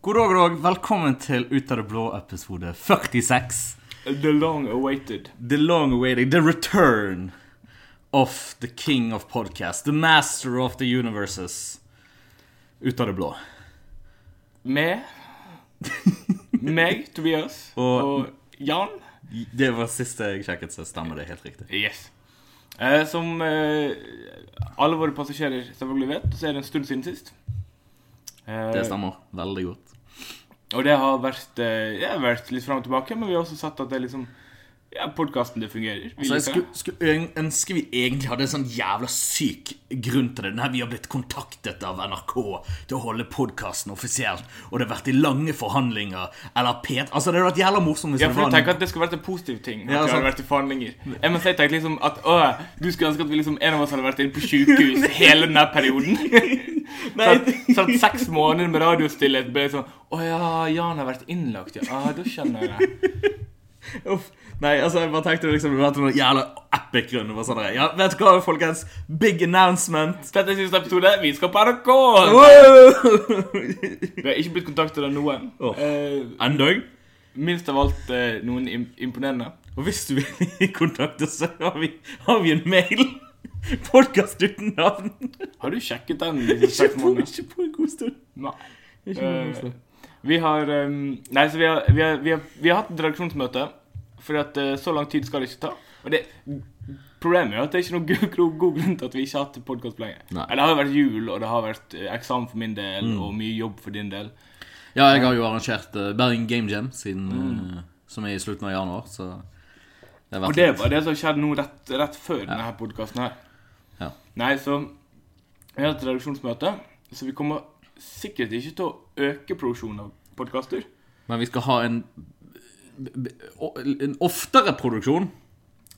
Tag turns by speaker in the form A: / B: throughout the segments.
A: God dag, dag. Velkommen til Ut av det blå, episode 46.
B: The long awaited.
A: The long awaiting, the return of the king of podcast. The master of the universes. Ut av det blå.
B: Med meg, Tobias, og,
A: Og-
B: Jan.
A: Det var siste jeg sjekket, så stemmer det helt riktig.
B: Yes. Eh, som eh, alle våre passasjerer selvfølgelig vet, så er det en stund siden sist. Eh,
A: Det stemmer veldig godt.
B: Og det har vært, eh, det har vært litt fram og tilbake, men vi har også sett at det er liksom Ja, podkasten, det fungerer. Vi
A: Så Altså, jeg
B: liker det.
A: skulle, skulle øn- ønske vi egentlig hadde en sånn jævla syk grunn til det. Nei, vi har blitt kontaktet av NRK til å holde podkasten offisielt, og det har vært i lange forhandlinger, eller pet... Altså, det hadde vært jævla morsomt hvis
B: Ja,
A: det
B: for
A: var
B: du tenker at det skulle vært en positiv ting.
A: Ja,
B: At
A: altså-
B: vi hadde
A: sant.
B: vært i forhandlinger. MSA tenkte liksom at å, du skulle ønske at vi liksom, en av oss hadde vært inne på sykehus hele denne perioden. så, at, så at seks måneder med radiostillhet ble sånn Å ja, Jan har vært innlagt, ja. Ah, da skjønner jeg.
A: Uff. Nei, altså jeg bare tenkte liksom Det var noen jævla epic grunn det var sånn der, Ja, vet du hva, folkens? Big announcement
B: Dette er siste episode. Vi skal på NRK!
A: Wow!
B: Vi har ikke blitt kontaktet av noen.
A: Åh.
B: Eh,
A: Endøy
B: minst av alt eh, noen im imponerende.
A: Og hvis du vil kontakte oss Så har vi, har vi en mail Podcast uten navn
B: Har du sjekket den?
A: ikke
B: disse seks
A: på,
B: månedene?
A: ikke på en god stund
B: Nei.
A: Ikke på en god
B: Eh,
A: stund
B: vi har ehm, Nei, så vi har, vi har, vi har, vi har hatt et redaksjonsmøte, for at, eh, så lang tid skal det ikke ta. Og det, problemet er jo at det er ikke noen god, god, god grunn til at vi ikke har hatt podkast på lenge.
A: Nei. Mm.
B: Ja, Det har jo vært jul, og det har vært eh, eksamen for min del, og mye jobb for din del.
A: Ja, jeg har jo arrangert eh, Bergen Game Jam siden, eh, Som er i slutten av januar Så det har
B: Og
A: vært
B: det
A: litt-
B: var det som skjedde nå rett, rett før denne podkasten her.
A: Ja.
B: Nei, så vi har hatt et redaksjonsmøte, så vi kommer sikkert ikke til å øke produksjonen av podkaster.
A: Men vi skal ha en b- b- o- En oftere produksjon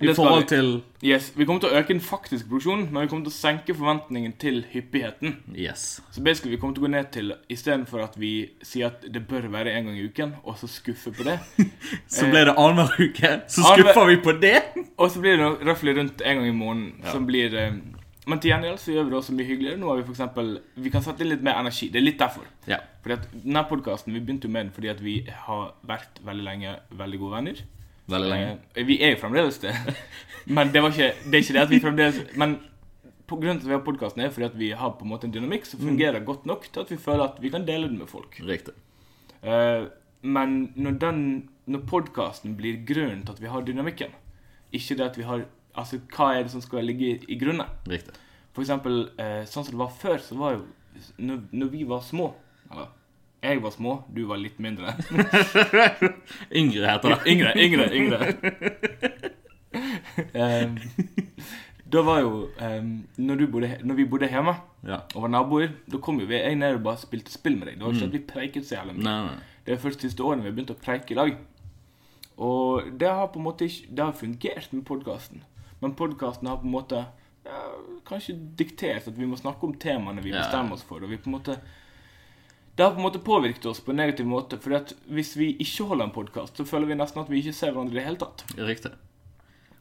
A: I
B: Det skal
A: forhold
B: vi.
A: til
B: Yes, Vi kommer til å øke den faktiske produksjonen, men vi kommer til å senke forventningen til hyppigheten.
A: Yes
B: Så basically vi kommer til å gå ned til Istedenfor at vi sier at det bør være én gang i uken, og så skuffe på det.
A: Så ble det Eh, annenhver uke. Så
B: Annenhver-
A: skuffer vi på det.
B: Og så blir det noe røftlig rundt én gang i måneden. som blir... eh, Men til gjengjeld så gjør vi det også mye hyggeligere. Nå har Vi for eksempel, vi kan sette inn litt mer energi. Det er litt derfor.
A: Ja.
B: Fordi at denne podcasten, Vi begynte jo med den fordi at vi har vært veldig lenge veldig gode venner.
A: Veldig
B: Eh, Vi er jo fremdeles det. Men det, var ikke, det er ikke det at vi fremdeles Men på grunnen til at vi har podkasten, er fordi at vi har på en måte en dynamikk som fungerer godt nok til at vi føler at vi kan dele den med folk.
A: Riktig.
B: Eh, men når, den, når podkasten blir grunnen til at vi har dynamikken, ikke det at vi har Altså, hva er det som skal ligge i, i grunnen?
A: Riktig.
B: For eksempel, eh, sånn som det var før, så var jo Når, når vi var små Eller jeg var små, du var litt mindre.
A: Yngre heter det.
B: Yngre, yngre, yngre. Ehm, da var jo ehm, når, du bodde, når vi bodde hjemme
A: Ja.
B: og var naboer, da kom jo vi jeg ned og bare spilte spill med deg. Det var ikke at vi preiket så jævlig mye.
A: Nei, nei.
B: Det er først de siste årene vi har begynt å preike i lag. Og det har på en måte ikke Det har fungert med podkasten, men podkasten har på en måte ja, kanskje diktert at vi må snakke om temaene vi
A: Ja.
B: bestemmer oss for, og vi på en måte det har på en måte påvirket oss på en negativ måte. For hvis vi ikke holder en podkast, så føler vi nesten at vi ikke ser hverandre i det hele tatt.
A: Riktig.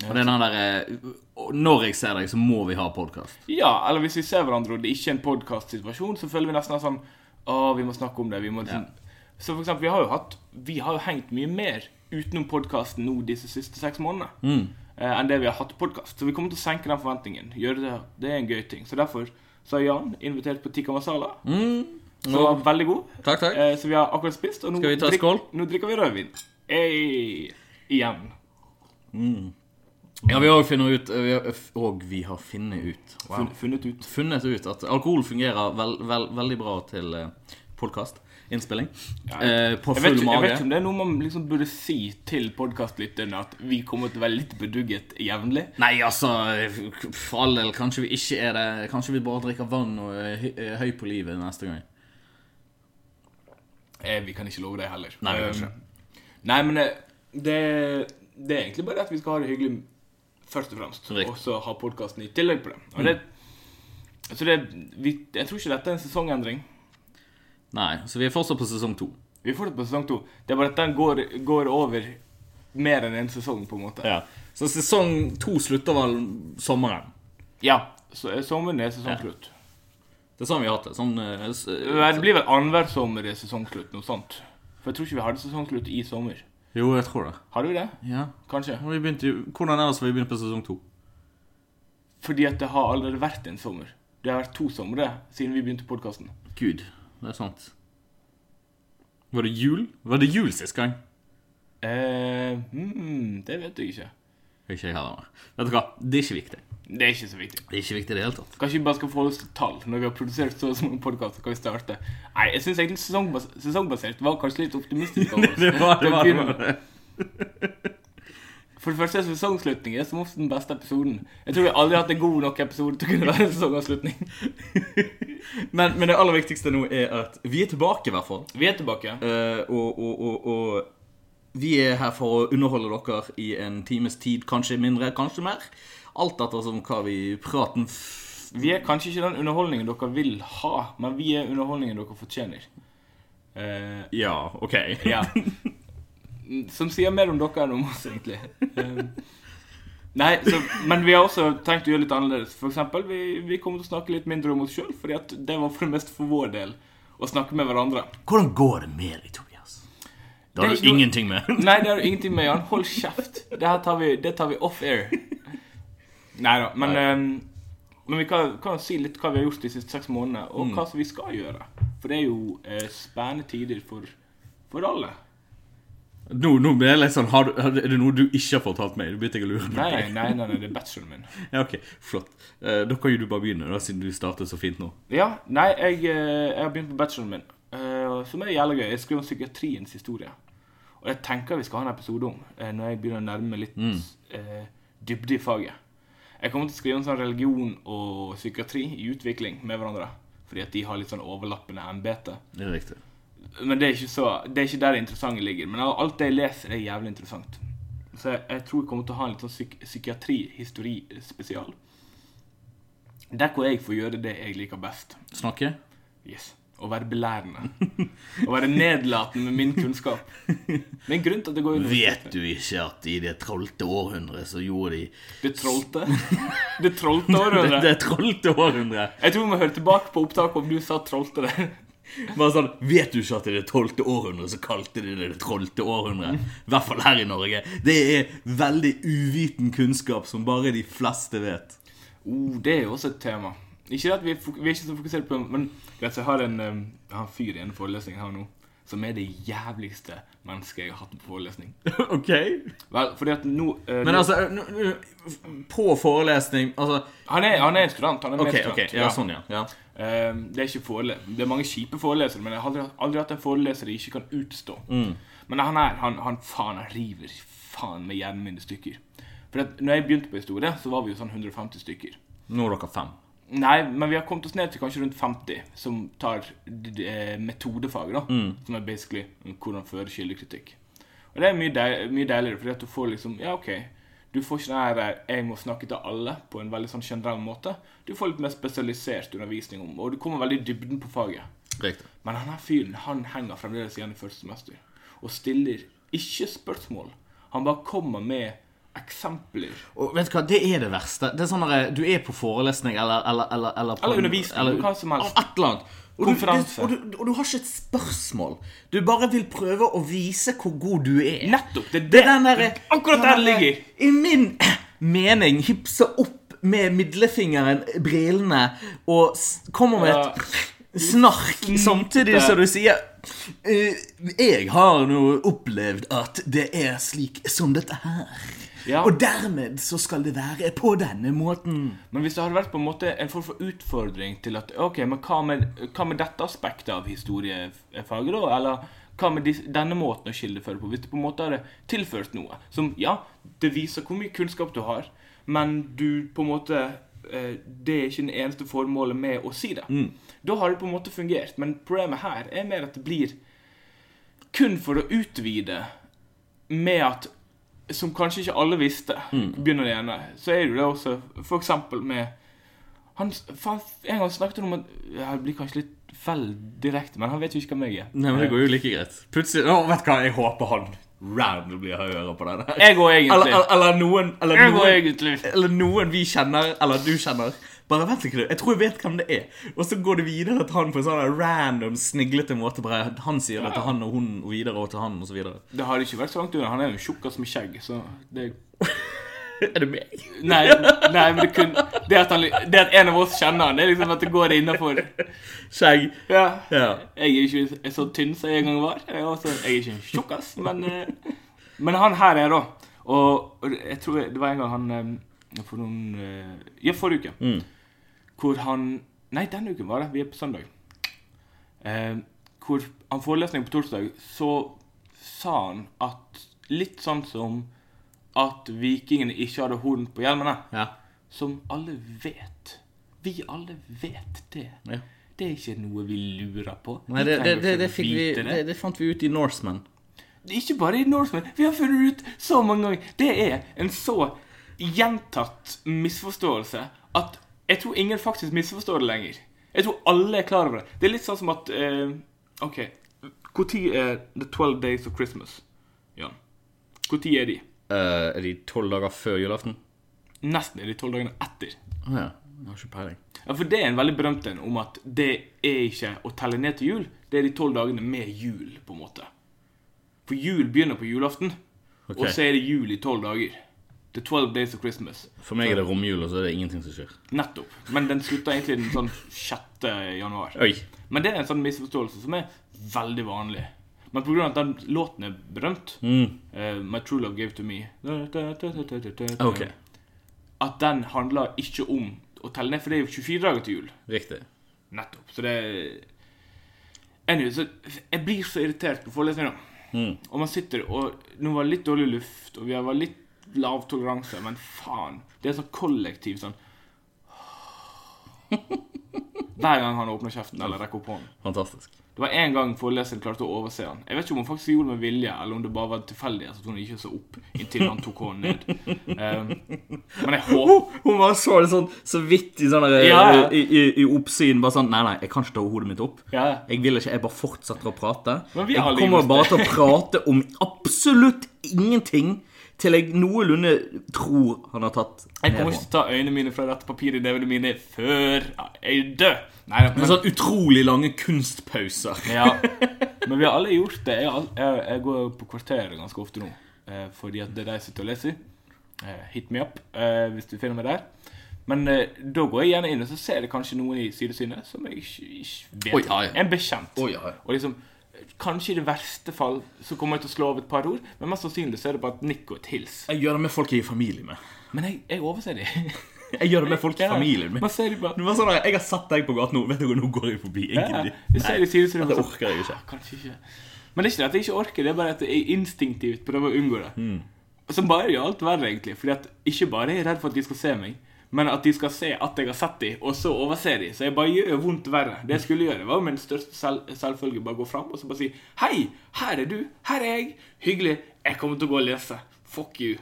A: Og det er den derre eh, Når jeg ser deg, så må vi ha podkast.
B: Ja, eller hvis vi ser hverandre og det ikke er en podcast-situasjon, så føler vi nesten sånn Å, vi må snakke om det. Vi må liksom Så for eksempel, vi har jo hatt Vi har jo hengt mye mer utenom podkasten nå disse siste seks månedene
A: Mm.
B: eh, enn det vi har hatt podkast. Så vi kommer til å senke den forventningen. Gjøre det, det er en gøy ting. Så derfor så har Jan invitert på Tikka Masala, som var veldig god.
A: Mm. Takk, takk.
B: Eh, så vi har akkurat spist, og nå,
A: Skal vi ta
B: drikk-
A: skål?
B: nå drikker vi rødvin. Ei, igjen.
A: Ja, vi har funnet ut eh, vi har, f- Og vi har funnet ut
B: Fun, funnet ut.
A: Funnet ut at alkohol fungerer vel, vel, veldig bra til podkast. Innspilling. Eh, på
B: Jeg vet,
A: full
B: ikke, jeg vet
A: mage.
B: ikke om det er noe man liksom burde si til podkastlytterne, at vi kommer til å være litt bedugget jevnlig.
A: Nei, altså, for all del, kanskje vi ikke er det. Kanskje vi bare drikker vann og er høy- er høy på livet neste gang.
B: Eh, vi kan ikke love det heller.
A: Nei, vi kan
B: Eh,
A: ikke.
B: nei men eh, det, det er egentlig bare at vi skal ha det hyggelig først og fremst,
A: Riktig. Mm.
B: og så ha podkasten i tillegg på det. Og det så det, vi, jeg tror ikke dette er en sesongendring.
A: Nei, så vi er fortsatt på sesong to.
B: Vi får det på sesong to. Det er bare at den går, går over mer enn en sesong, på en måte.
A: Ja. Så sesong to slutter vel sommeren.
B: Ja. så, eh, sommeren er
A: Ja.
B: sesongslutt.
A: Det er sånn vi har hatt det. Sånn, eh, s-
B: Nei, Det blir vel annenhver sommer er sesongslutt, noe sånt. For jeg tror ikke vi hadde sesongslutt i sommer.
A: jo, jeg tror det.
B: Hadde vi det?
A: Ja.
B: Kanskje.
A: Og vi begynte, jo- hvordan ellers har vi begynt på sesong to?
B: Fordi at det har allerede vært en sommer. Det har vært to somre siden vi begynte podkasten.
A: Gud, det er sant. Var det jul? Var det jul sist gang?
B: Eh, hmm, det vet jeg ikke.
A: Ikke jeg heller. Vet du hva, det er ikke viktig.
B: Det er ikke så viktig.
A: Det er ikke viktig i det hele tatt.
B: Kanskje vi bare skal forholde oss til tall. Når vi har produsert så og så mange podkaster, kan vi starte. Nei, jeg syns egentlig sesongbas sesongbasert var kanskje litt optimistisk. av oss.
A: det var, det var.
B: For det første er sesongsslutning er som oftest den beste episoden. Jeg tror vi aldri har hatt en god nok episode til å kunne være en sesongavslutning.
A: Men, men det aller viktigste nå er at vi er tilbake, i hvert fall.
B: Vi er tilbake.
A: Eh, og, og, og, og vi er her for å underholde dere i en times tid, kanskje mindre, kanskje mer. Alt etter som hva vi praten f...
B: Vi er kanskje ikke den underholdningen dere vil ha, men vi er underholdningen dere fortjener. Eh,
A: Ja, OK.
B: ja. Mm, Som sier mer om dere enn om oss, egentlig. Eh, Nei, så, men vi har også tenkt å gjøre litt annerledes. For eksempel, vi, vi kommer til å snakke litt mindre om oss sjøl, fordi at det var for det meste for vår del å snakke med hverandre.
A: Hvordan går det med deg, Tobias? Det har
B: Det
A: du
B: går-
A: ingenting med.
B: Nei, det har du ingenting med, Jan. Hold kjeft. Det her tar vi, det tar vi off air. Neida, men, ehm, men vi kan, kan si litt hva vi har gjort de siste seks månedene, og hva som vi skal gjøre. For det er jo eh, spennende tider for, for alle.
A: Nå, nå ble jeg litt sånn har du, har du- Er det noe du ikke har fortalt meg? Du begynte jeg å lure på.
B: Nei, nei, nei, nei, det er bacheloren min.
A: Ja, ok, flott. Eh, da kan jo du bare begynne, da, siden du startet så fint nå.
B: Ja, nei, jeg, eh, jeg har begynt på bacheloren min, eh, som er jævlig gøy. Jeg skriver om psykiatriens historie. Og jeg tenker vi skal ha en episode om, eh, når jeg begynner å nærme meg litt eh, dybde i faget. Jeg kommer til å skrive om sånn religion og psykiatri i utvikling med hverandre. Fordi at de har litt sånn overlappende embete.
A: Det er riktig.
B: Men det er, ikke så, det er ikke der det interessante ligger. Men alt det jeg leser, er jævlig interessant. Så jeg, jeg tror jeg kommer til å ha en litt sånn psyk psykiatri-histori-spesial. Der hvor jeg får gjøre det jeg liker best.
A: Snakke?
B: Yes. Å være belærende. Å være nedlatende med min kunnskap. Det er en grunn til at det går
A: Vet du ikke at i det trollte århundret så gjorde de
B: Det trollte. Det trollte
A: Det,
B: århundret.
A: det trollte århundret!
B: Jeg tror vi må høre tilbake på opptaket om du sa trollte der.
A: Bare sånn Vet du ikke at i det tolvte århundret så kalte de det det trollte århundret? I hvert fall her i Norge. Det er veldig uviten kunnskap som bare de fleste vet.
B: Oh, det er jo også et tema. Ikke at vi er, fok- vi er ikke så fokusert på Men greit, så jeg har en, um, jeg har en fyr i en forelesning jeg har nå, som er det jævligste mennesket jeg har hatt på forelesning.
A: ok?
B: Vel, fordi at nå, eh,
A: Men
B: nå
A: altså, nå- nå- på forelesning Altså
B: han, er, han er en student. Han er
A: OK,
B: medstudent.
A: ok, ja, sånn, ja. ja.
B: Um, det er ikke forele Det er mange kjipe forelesere, men jeg har aldri, aldri hatt en foreleser jeg ikke kan utstå. Men han her, han, han faen, han river faen med hjernen min i stykker. For at når jeg begynte på historie, så var vi jo sånn 150 stykker.
A: Nå er dere fem.
B: Nei, men vi har kommet oss ned til kanskje rundt 50 som tar d- d- eh, metodefaget, da.
A: Mm.
B: Som er basically hvordan føre kildekritikk. Og det er mye, deil, mye deiligere, fordi at du får liksom Ja, OK. Du får ikke den her eh, 'jeg må snakke til alle' på en veldig sånn generell måte. Du får litt mer spesialisert undervisning om, og du kommer veldig i dybden på faget.
A: Riktig.
B: Men han her fyren han henger fremdeles igjen i første semester og stiller ikke spørsmål. Han bare kommer med eksempler.
A: Og vet du hva, Det er det verste. Det er sånn at Du er på forelesning eller Eller, eller, eller, på
B: Eller
A: en-
B: undervisning, hva som helst.
A: Av Et eller annet. Og du,
B: Konferanse.
A: Du, og, du, og du har ikke et spørsmål. Du bare vil prøve å vise hvor god du er.
B: Nettopp! Det er
A: Det
B: det,
A: er den der,
B: akkurat der det ligger!
A: I min mening hipse opp med middelfingeren, brillene, og s- kommer med et snark samtidig som du sier «Eh, Jeg har nå opplevd at det er slik som dette her.
B: Ja.
A: Og dermed så skal det være på denne måten.
B: Men hvis det hadde vært på en måte en form for utfordring til at OK, men hva med, hva med dette aspektet av historiefaget, da? Eller hva med dis- denne måten å kildeføre på? Hvis du på en måte hadde tilført noe som Ja, det viser hvor mye kunnskap du har, men du på en måte eh, Det er ikke det eneste formålet med å si det. Da har det på en måte fungert. Men problemet her er mer at det blir kun for å utvide med at Som kanskje ikke alle visste, begynner det gjerne. Så er det jo det også for eksempel med han, faen, En gang snakket han om at ja, Det blir kanskje litt vel direkte, men han vet jo ikke hvem jeg er.
A: Nei, men Det går jo like greit. Plutselig Å, vet du hva, jeg håper han Randall blir høyere på det der.
B: Jeg og egentlig.
A: Eller, eller, eller noen, eller
B: jeg og
A: noen
B: egentlig.
A: Eller noen vi kjenner, eller du kjenner, Bare vent litt, jeg tror jeg vet hvem det er. Og så går det videre til han på en sånn der random, sniglete måte. Bare han sier det til han og hun, og videre og til han, og så videre.
B: Det har ikke vært så langt unna. Han er jo en tjukkas med skjegg, så det
A: Er det meg?
B: Nei, nei men det, kun, det, at han, det at en av oss kjenner han, det er liksom at det går innafor.
A: Skjegg.
B: Ja.
A: Ja.
B: Jeg er ikke jeg er så tynn som jeg en gang var. Jeg er, også, jeg er ikke en tjukkas, men, eh, men han her er da. Og og jeg tror det var en gang han eh, For noen eh, Ja, forrige uke. Hvor han Nei, denne uken var det. Vi er på søndag. Eh, hvor han forelesning på torsdag, så sa han at litt sånn som at vikingene ikke hadde horn på hjelmene.
A: Ja.
B: Som alle vet. Vi alle vet det.
A: Ja.
B: Det er ikke noe vi lurer på.
A: Nei,
B: Vi
A: det, det,
B: trenger
A: det,
B: ikke
A: det, fikk vi,
B: vite
A: det, det fant vi ut i Norseman.
B: Det er Ikke bare i Norseman. Vi har funnet ut så mange ganger. Det er en så gjentatt misforståelse at jeg tror ingen faktisk misforstår det lenger. Jeg tror alle er klar over det. Det er litt sånn som at eh, OK. Når er The 12 Days of Christmas? Ja. Når er de?
A: Eh, er de tolv dager før julaften?
B: Nesten er de tolv dagene etter.
A: Å ja. Jeg har ikke peiling.
B: Ja, For det er en veldig berømt en om at det er ikke å telle ned til jul, det er de tolv dagene med jul, på en måte. For jul begynner på julaften,
A: Ok.
B: og så er det jul i tolv dager. The 12 days of Christmas.
A: For meg er det romjul, og så er det ingenting som skjer.
B: Nettopp. Men den slutter egentlig den sånn 6. januar.
A: Oi.
B: Men det er en sånn misforståelse som er veldig vanlig. Men pga. at den låten er berømt,
A: Mm.
B: eh, My True Love Gave To Me
A: Ok.
B: At den handler ikke om å telle ned, for det er jo 24 dager til jul.
A: Riktig.
B: Nettopp. Så det Anyway, så jeg blir så irritert på forelesninger. Og man sitter og Nå var det litt dårlig luft, og vi var litt lav toleranse, men faen. Det er sånn kollektiv sånn Hver gang han åpner kjeften eller rekker opp hånden.
A: Fantastisk.
B: Det var én gang foreleseren klarte å overse han. Jeg vet ikke om hun faktisk gjorde det med vilje, eller om det bare var tilfeldig at hun ikke så opp inntil han tok hånden ned. Eh, men jeg håper
A: Oh, hun bare så det sånn så vidt i, sånn der,
B: Ja, ja.
A: i, i, i oppsyn. Bare sånn Nei, nei, jeg kan ikke ta hodet mitt opp.
B: Ja, ja.
A: Jeg vil ikke, jeg bare fortsetter å prate.
B: Men vi
A: Jeg
B: har alle
A: kommer
B: gjort
A: bare til å prate om absolutt ingenting til jeg noenlunde tror han har tatt
B: Jeg
A: ned
B: kommer
A: på
B: ikke
A: han.
B: til å ta øynene mine fra dette papiret i DVD-ene mine før jeg er død. Nei, da,
A: Men
B: men,
A: sånn utrolig lange kunstpauser.
B: ja. men vi har alle gjort det. Jeg, har al- jeg, jeg går jo på kvarteret ganske ofte nå. Eh, fordi at det er det jeg sitter og leser. Eh, hit me up eh, hvis du finner meg der. Men eh, da går jeg gjerne inn, og så ser jeg kanskje noen i sidesynet som jeg ikke, ikke vet.
A: Oi, ja, ja.
B: En bekjent.
A: Oi, ja, ja.
B: Og liksom, Kanskje i det verste fall så kommer jeg til å slå av et par ord, men mest sannsynlig så er det bare et nikk og et hils.
A: Jeg gjør det med folk jeg er i familie med.
B: Men jeg, jeg overser de.
A: Jeg gjør det med folk i familien min.
B: Man ser de bare
A: Det var sånn der, Jeg har sett deg på gaten nå. Vet du hva, nå går jeg forbi. Jeg
B: Ja,
A: gidder
B: ja. Du ser det sier ut som
A: Det orker jeg ikke.
B: Ah, Kanskje ikke. Men det er ikke det at jeg ikke orker, det er bare at jeg instinktivt prøver å unngå det. Som bare gjør alt verre, egentlig. Fordi at ikke bare er jeg redd for at de skal se meg, men at de skal se at jeg har sett dem, og så overser de. Så jeg bare gjør vondt verre. Det jeg skulle gjøre, var min største selv selvfølge bare gå fram og så bare si Hei, her er du. Her er jeg. Hyggelig. Jeg kommer til å gå og lese. Fuck you.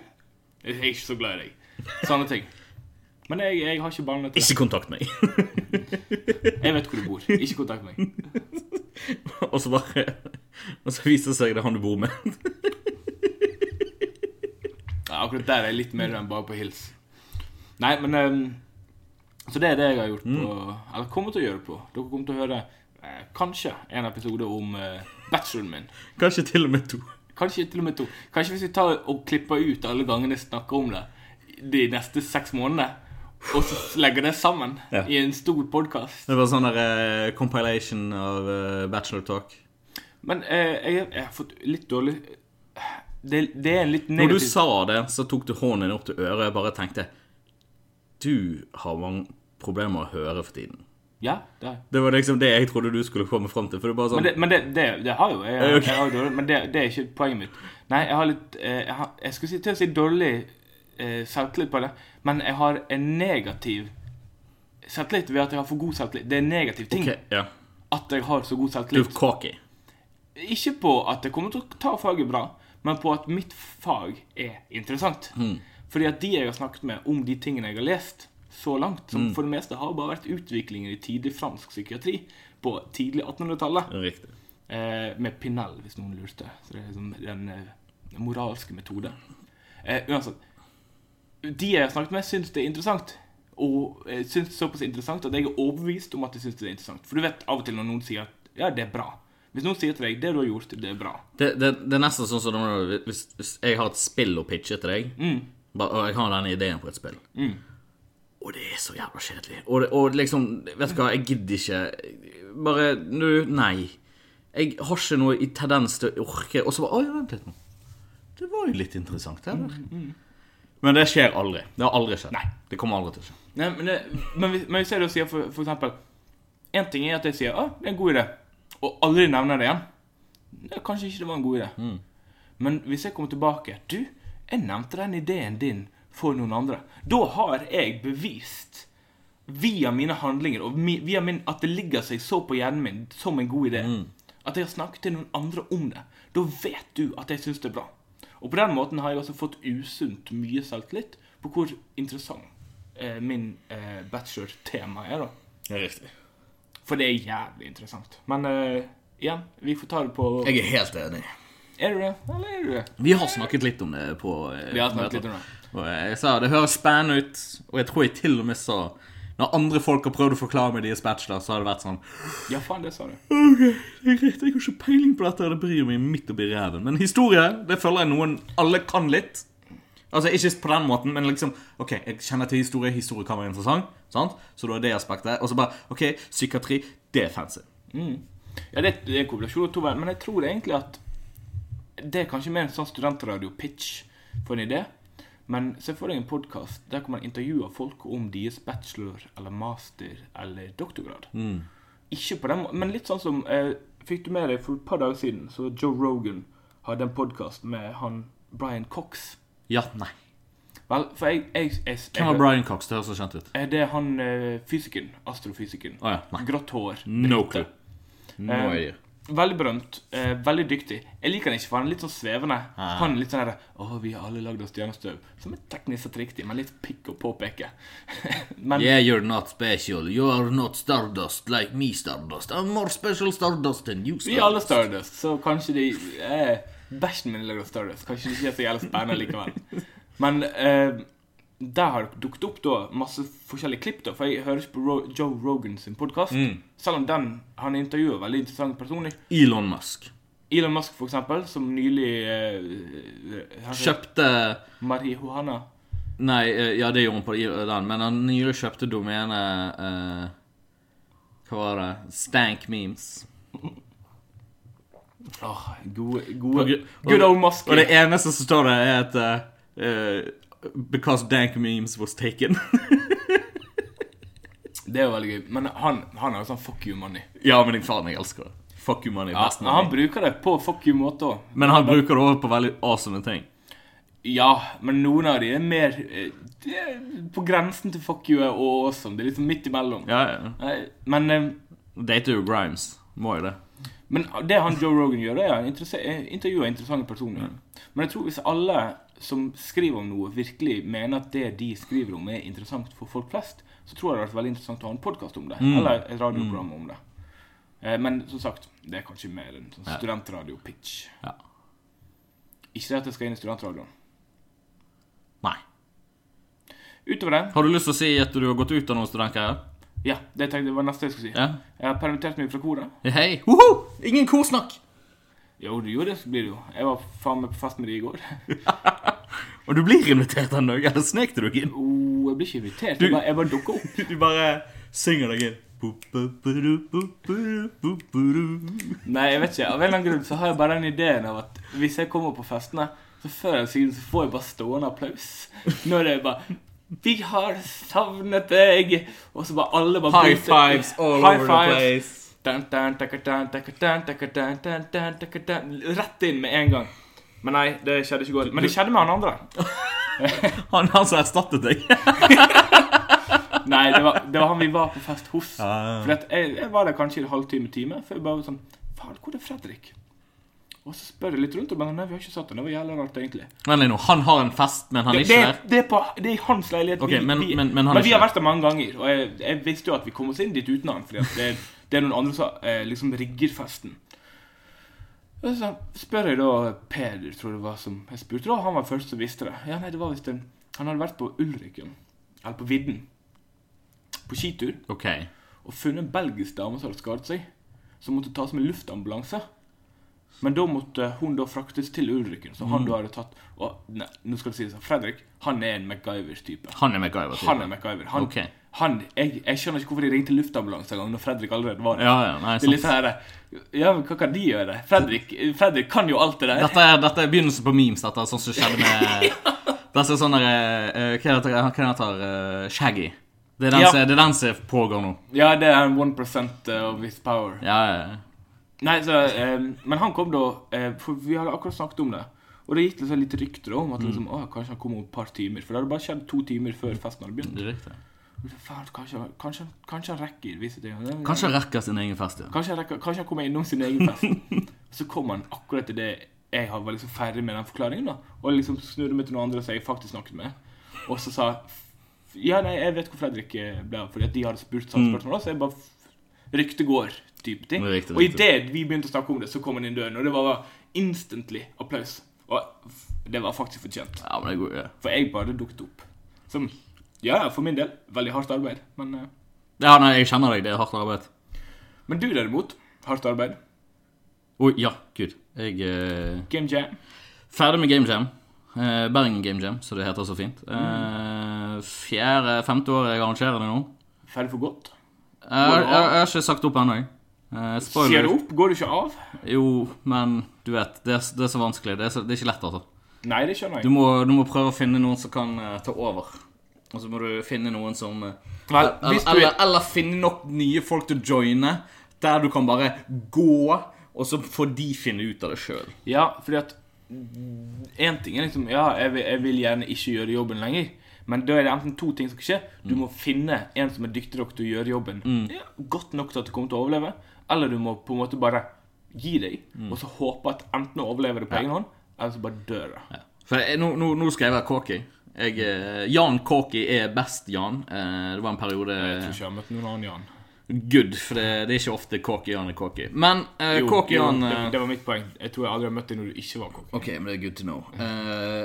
B: Jeg er ikke så glad i deg. Sånne ting. Men jeg, jeg har ikke ballene til det.
A: Ikke kontakt meg.
B: Jeg vet hvor du bor. Ikke kontakt meg.
A: Og så bare Og så viser det seg det er han du bor med.
B: Ja, akkurat der er jeg litt mer enn bare på hils. Nei, men ehm, Så det er det jeg har gjort på
A: Mm.
B: Eller kommer til å gjøre på. Dere kommer til å høre eh, kanskje en episode om eh, bacheloren min.
A: Kanskje til og med to.
B: Kanskje til og med to. Kanskje hvis vi tar og klipper ut alle gangene jeg snakker om det de neste seks månedene, og så legger det sammen
A: Ja.
B: i en stor podkast.
A: Det var sånn der eh, compilation av eh, bachelor talk.
B: Men eh, jeg, jeg har fått litt dårlig det, det er en litt
A: Når du
B: negativ
A: sa det, så tok du hånden din opp til øret og jeg bare tenkte Du har mange problemer å høre for tiden.
B: Ja, det er
A: Det var liksom det jeg trodde du skulle komme fram til. For det er bare sånn
B: Men det, men det, det, det har jo jeg.
A: Ja,
B: jeg,
A: ok.
B: har jo dårlig, men det, det er ikke poenget mitt. Nei, jeg har litt eh, Jeg, har, jeg skulle si, til å si dårlig eh, selvtillit på det, men jeg har en negativ selvtillit ved at jeg har for god selvtillit. Det er en negativ ting
A: Ok, ja.
B: at jeg har så
A: Du
B: god
A: er
B: selvtillit.
A: cocky.
B: Ikke på at jeg kommer til å ta faget bra, men på at mitt fag er interessant.
A: Hmm.
B: Fordi at de jeg har snakket med om de tingene jeg har lest så langt,
A: Hmm.
B: som for det meste har bare vært utviklingen i tidlig fransk psykiatri på tidlig 1800-tallet.
A: Riktig.
B: Eh, med Pinell, hvis noen lurte. Så det er liksom den eh, moralske metode. Eh, uansett De jeg har snakket med, syns det er interessant. Og jeg syns det er såpass interessant at jeg er overbevist om at jeg syns det er interessant. For du vet av og til når noen sier at ja, det er bra. Hvis noen sier til deg det du har gjort, det er bra.
C: Det, det, det er nesten sånn som når- hvis, hvis jeg har et spill å pitche til deg, ba- og jeg har denne ideen på et spill, og det er så jævla kjedelig, og, det- og liksom Vet du hva, jeg gidder ikke. Bare nu, Nei. Jeg har ikke noe i tendens til å orke Og så bare Oi, vent litt nå.
A: Det var jo litt interessant, eller? Men det skjer aldri. Det har aldri skjedd. Nei. Det kommer aldri til å skje.
B: Nei, men, det, men, hvis, men hvis jeg da sier for, for eksempel En ting er at jeg sier at det er en god idé, og aldri nevner det igjen. Nei, kanskje ikke det var en god idé. Men hvis jeg kommer tilbake Du, jeg nevnte den ideen din for noen andre. Da har jeg bevist via mine handlinger og mi, via min, at det ligger seg så på hjernen min som en god idé. At jeg har snakket til noen andre om det. Da vet du at jeg syns det er bra. Og på den måten har jeg også fått usunt mye selvtillit på hvor interessant eh, min eh, bachelor-tema er, da.
A: Det er riktig.
B: For det er jævlig interessant. Men eh, igjen, vi får ta det på
A: Jeg er helt enig.
B: Er du det, eller er du det?
A: Vi har snakket litt om det på eh,
B: Vi har snakket litt om det.
A: Og jeg sa det høres spennende ut, og jeg tror jeg til og med sa Når andre folk har prøvd å forklare meg deres bachelor, så har det vært sånn
B: Ja, faen, det sa du.
A: Ok, det er greit, jeg har ikke peiling på dette, det bryr meg midt oppi ræven. Men historie, det føler jeg noen alle kan litt. Altså, ikke på den måten, men liksom Ok, jeg kjenner til historie, historie kan være interessant, sant? så da er det aspektet. Og så bare Ok, psykiatri, det er fancy.
B: Mm. Ja, det det er en kombinasjon av to verden, men jeg tror egentlig at det er kanskje mer en sånn studentradio-pitch for en idé. Men se for deg en podkast der hvor man intervjuer folk om deres bachelor eller master eller doktorgrad.
A: Mm.
B: Ikke på den må- men litt sånn som eh, Fikk du med deg for et par dager siden så Joe Rogan hadde en podkast med han Brian Cox.
A: Ja, nei.
B: Vel, for jeg, jeg, jeg, jeg,
A: Hvem var Brian Cox? Det høres så kjent ut.
B: Eh, Det er han eh, fysikeren. Astrofysikeren.
A: Å ja, nei.
B: Grått hår.
A: No
B: brite.
A: clue. No
B: Eh,
A: idea.
B: Veldig berømt. Eh, veldig dyktig. Jeg liker han ikke, for han er litt sånn svevende. Han er litt sånn derre Å, vi har alle lagd av stjernestøv. Som er teknisk sett riktig, men litt pikk å påpeke. men
C: Yeah, you're not special. You are not Stardust like me, Stardust. I'm more special Stardust than you,
B: vi er alle Stardust, så kanskje de eh, Bæsjen min er lagd av Stardust. Kanskje det ikke er så jævlig spennende likevel. Men eh, der har det dukket opp da masse forskjellige klipp, da, for jeg hører ikke på Ro Joe Rogan sin podkast. Selv om den han intervjuer veldig interessante personer.
A: Elon Musk
B: Elon Musk, for eksempel, som nylig eh, han-
A: kjøpte
B: Marihuana.
A: Nei, eh, ja, det gjorde han på den, men han nylig kjøpte domenet eh, Hva var det? Stank memes.
B: Åh, gode, gode
A: Og-
B: Good old Musk.
A: Og det eneste som står der, er at eh, eh, Because dank memes was taken.
B: Det er jo veldig gøy. Men han, han er jo sånn fuck you money.
A: ja, men jeg- faen, jeg elsker det. Fuck you money.
B: Ja,
A: best
B: han
A: money.
B: bruker det på fuck you-måte òg.
A: Men han bruker det over på veldig awesome ting.
B: Ja, men noen av de er mer eh, de er på grensen til fuck you og awesome. Det er liksom midt imellom.
A: Ja, ja.
B: Eh, Men, eh,
A: Dater jo Grimes. Må jo det.
B: men det han Joe Rogan gjør, det er han interesse- eh, intervjuer interessante personer. Men jeg tror hvis alle som skriver om noe, virkelig mener at det de skriver om, er interessant for folk flest, så tror jeg det hadde vært veldig interessant å ha en podkast om det.
A: Mm.
B: Eller et radioprogram om det. Eh, Men som sagt, det er kanskje mer en sånn studentradio-pitch.
A: Ja.
B: Ikke det at jeg skal inn i studentradioen.
A: Nei.
B: Utover det
A: Har du lyst til å si at du har gått ut av noen studentgreier?
B: Ja, det tenkte jeg var neste jeg skulle si.
A: Ja.
B: Jeg har permittert meg fra koret.
A: Hei. Woho! Ingen korsnakk!
B: Jo, det- jo, det blir det jo. Jeg var faen meg på fest med de i går.
A: Og du blir invitert en dag. Eller snek du deg inn?
B: Oh, jeg blir ikke invitert. Jeg bare, jeg bare dukker opp.
A: Du bare synger deg inn. Nei,
B: Nei, jeg vet ikke. Av en eller annen grunn så har jeg bare den ideen av at hvis jeg kommer på festene, så før eller siden så får jeg bare stående applaus. Når det er bare Vi har savnet deg! Og så bare alle bare
A: High fives all
B: High
A: over the
B: fives.
A: place.
B: Dun, dun, taka, dun, taka, dun, taka, dun, dun, dun, taka, dun. Rett inn med en gang. Men nei, det skjedde ikke i går. Men det skjedde med han andre.
A: Han han som erstattet deg.
B: Nei, det var, det var han vi var på fest hos.
A: Ja, ja.
B: For at jeg, jeg var der kanskje i en halvtime, time, før jeg bare var sånn Faen, hvor er Fredrik? Og så spør jeg litt rundt, og bare Nei, vi har ikke sett han. Det var jævla rart, egentlig.
A: Vent litt nå, han har en fest, men han
B: Det,
A: er
B: det,
A: ikke der?
B: det, er på, det er i hans leilighet.
A: Ok, men- men- men han er
B: vi
A: ikke
B: har vært der mange ganger, og jeg, jeg visste jo at vi kom oss inn dit uten han. Fordi at det, det er noen andre som eh, liksom rigger festen. Og Så spør jeg da Peder, tror jeg det var, som jeg spurte. da, Han var først som visste det. Ja, nei, det var visst en Han hadde vært på Ulriken. Eller på Vidden. på skitur
A: OK.
B: og funnet en belgisk dame som hadde skadet seg, som måtte tas med luftambulanse. Men da måtte hun da fraktes til Ulriken, så
A: Mm.
B: han da hadde tatt og, nei, nå skal det sies at Fredrik han er en MacGyvers type.
A: Han er MacGyver. typ.
B: Han er MacGyver. Han,
A: Ok.
B: han, jeg, jeg skjønner ikke hvorfor de ringte luftambulanse en gang når Fredrik allerede var der.
A: Ja, ja, nei,
B: det er litt
A: sant.
B: sånn her Ja, men hva kan de gjøre? Fredrik, Fredrik kan jo alt det der.
A: Dette er, dette er begynnelsen på memes, dette. Sånn som skjedde med Dette er sånn der eh, Hva heter han heter eh, Shaggy. Det er den
B: Ja.
A: som- det er den som pågår nå.
B: Ja, det er 1 eh, of his power.
A: Ja, ja, ja.
B: Nei, så, eh, Men han kom da eh, For vi hadde akkurat snakket om det. Og det gikk liksom litt rykter om at liksom, å, kanskje han kom om et par timer. For det hadde bare skjedd to timer før festen hadde begynt.
A: Det er riktig.
B: Faen, kanskje, kanskje, kanskje han rekker visse ting.
A: Kanskje han rekker sin egen fest, ja.
B: Kanskje, han rekker, kanskje han kommer innom sin egen fest. så kom han akkurat til det jeg var liksom ferdig med den forklaringen. da Og liksom snudde meg til noen andre som jeg faktisk snakket med. Og så sa f- Ja, nei, jeg vet hvor Fredrik eh, ble av, fordi at de hadde spurt samme
A: Mm.
B: spørsmål. Så jeg bare f- Ryktet går, type ting.
A: Riktig,
B: Og
A: riktig.
B: idet vi begynte å snakke om det, så kom han inn døren, og det var bare instantly applaus. Og f- det var faktisk fortjent.
A: Ja, men det er god, ja.
B: For jeg bare dukket opp. Som Ja, ja, for min del, veldig hardt arbeid, men eh,
A: ja, nei, jeg kjenner deg. Det er hardt arbeid.
B: Men du derimot, hardt arbeid.
A: Oi, ja, gud. Jeg eh,
B: Game jam.
A: Ferdig med Game Jam. Eh, Bergen Game Jam, som det heter så fint. Eh, fjerde, femte år jeg arrangerer det nå.
B: Ferdig for godt.
A: Jeg, jeg, jeg har ikke sagt opp ennå. jeg. Eh,
B: Sier
A: spoiler
B: du opp, går du ikke av?
A: Jo, men du vet. Det er, det er så vanskelig. Det er, så, det er ikke lett, altså.
B: Nei, det skjønner
A: Du
B: jeg.
A: må, du må prøve å finne noen som kan eh, ta over. Og så må du finne noen som eh,
B: Vel, hvis
A: eller,
B: du-
A: eller, eller finne nok nye folk til å joine, der du kan bare gå, og så får de finne ut av det sjøl.
B: Ja, fordi at Én ting er liksom Ja, jeg vil, jeg vil gjerne ikke gjøre jobben lenger. Men da er det enten to ting som skal skje.
A: Mm.
B: Du må finne en som er dyktig nok til å gjøre jobben ja, godt nok til at du kommer til å overleve. Eller du må på en måte bare gi deg,
A: Mm.
B: og så håpe at enten du overlever det på egen hånd, eller så bare dør det.
A: For jeg, nå, nå, nå skal jeg være cocky. Jeg, eh, Jan Cocky er best Jan. Eh, det var en periode
B: Jeg tror ikke jeg har møtt noen annen Jan.
A: good, for det, det er ikke ofte cocky Jan er cocky. Men eh,
B: Jo,
A: cocky
B: jo,
A: Jan
B: det,
A: eh,
B: det var mitt poeng. Jeg tror jeg aldri har møtt deg når du ikke var kokk.
A: Ok, men det er good to know. Eh,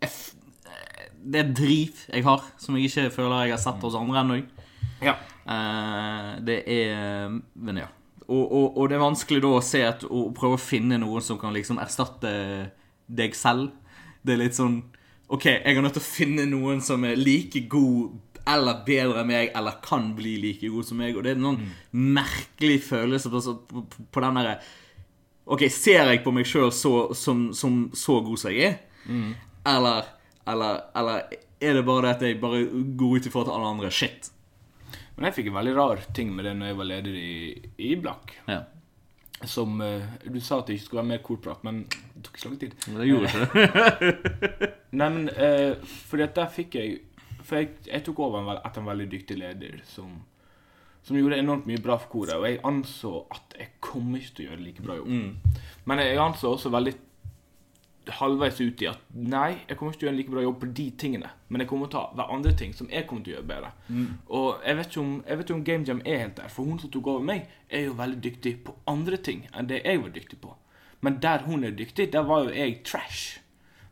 A: jeg f- eh, det er driv jeg har, som jeg ikke føler jeg har sett hos andre ennå.
B: Ja.
A: Eh, det er Men ja. Og, og, og det er vanskelig da å se at Å prøve å finne noen som kan liksom erstatte deg selv. Det er litt sånn OK, jeg er nødt til å finne noen som er like god eller bedre enn meg, eller kan bli like god som meg. Og det er en sånn merkelig følelse på, på, på den derre OK, ser jeg på meg sjøl som, som så god som jeg er? Eller, eller, eller er det bare det at jeg bare går ut ifra at alle andre er shit?
B: Men jeg fikk en veldig rar ting med det når jeg var leder i, i Blakk.
A: Ja.
B: Som eh, Du sa at det ikke skulle være mer korprat, men det tok ikke så lang tid.
A: Men det gjorde ikke det.
B: Nei, men eh, fordi at der fikk jeg For jeg, jeg tok over en, vel- etter en veldig dyktig leder som, som gjorde enormt mye bra for koret, og jeg anså at jeg kommer ikke til å gjøre like bra jobb. Men jeg anså også veldig halvveis ut i at nei, jeg kommer ikke til å gjøre en like bra jobb på de tingene, men jeg kommer til å ta hver andre ting som jeg kommer til å gjøre bedre.
A: Mm.
B: Og jeg vet, ikke om, jeg vet ikke om Game Jam er helt der, for hun som tok over meg, er jo veldig dyktig på andre ting enn det jeg var dyktig på. Men der hun er dyktig, der var jo jeg trash.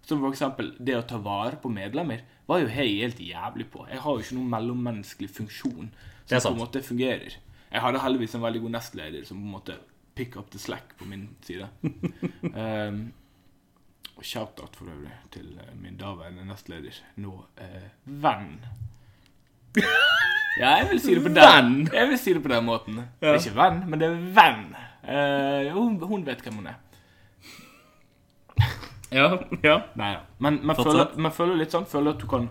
B: Som for eksempel det å ta vare på medlemmer, var jo jeg helt jævlig på. Jeg har jo ikke noen mellommenneskelig funksjon
A: Det er
B: som på
A: sant.
B: en måte fungerer. Jeg hadde heldigvis en veldig god nestleder som på en måte pick up the slack på min side. um, og shout-out for øvrig til eh, min daværende nestleder, nå eh, venn. Ja, jeg vil si det på den, jeg vil si det på den måten. Det er ikke venn, men det er venn. Eh, hun, hun vet hvem hun er.
A: Ja, ja.
B: Nei, ja. Men man
A: Fortsatt.
B: føler, man føler litt sånn Føler at du kan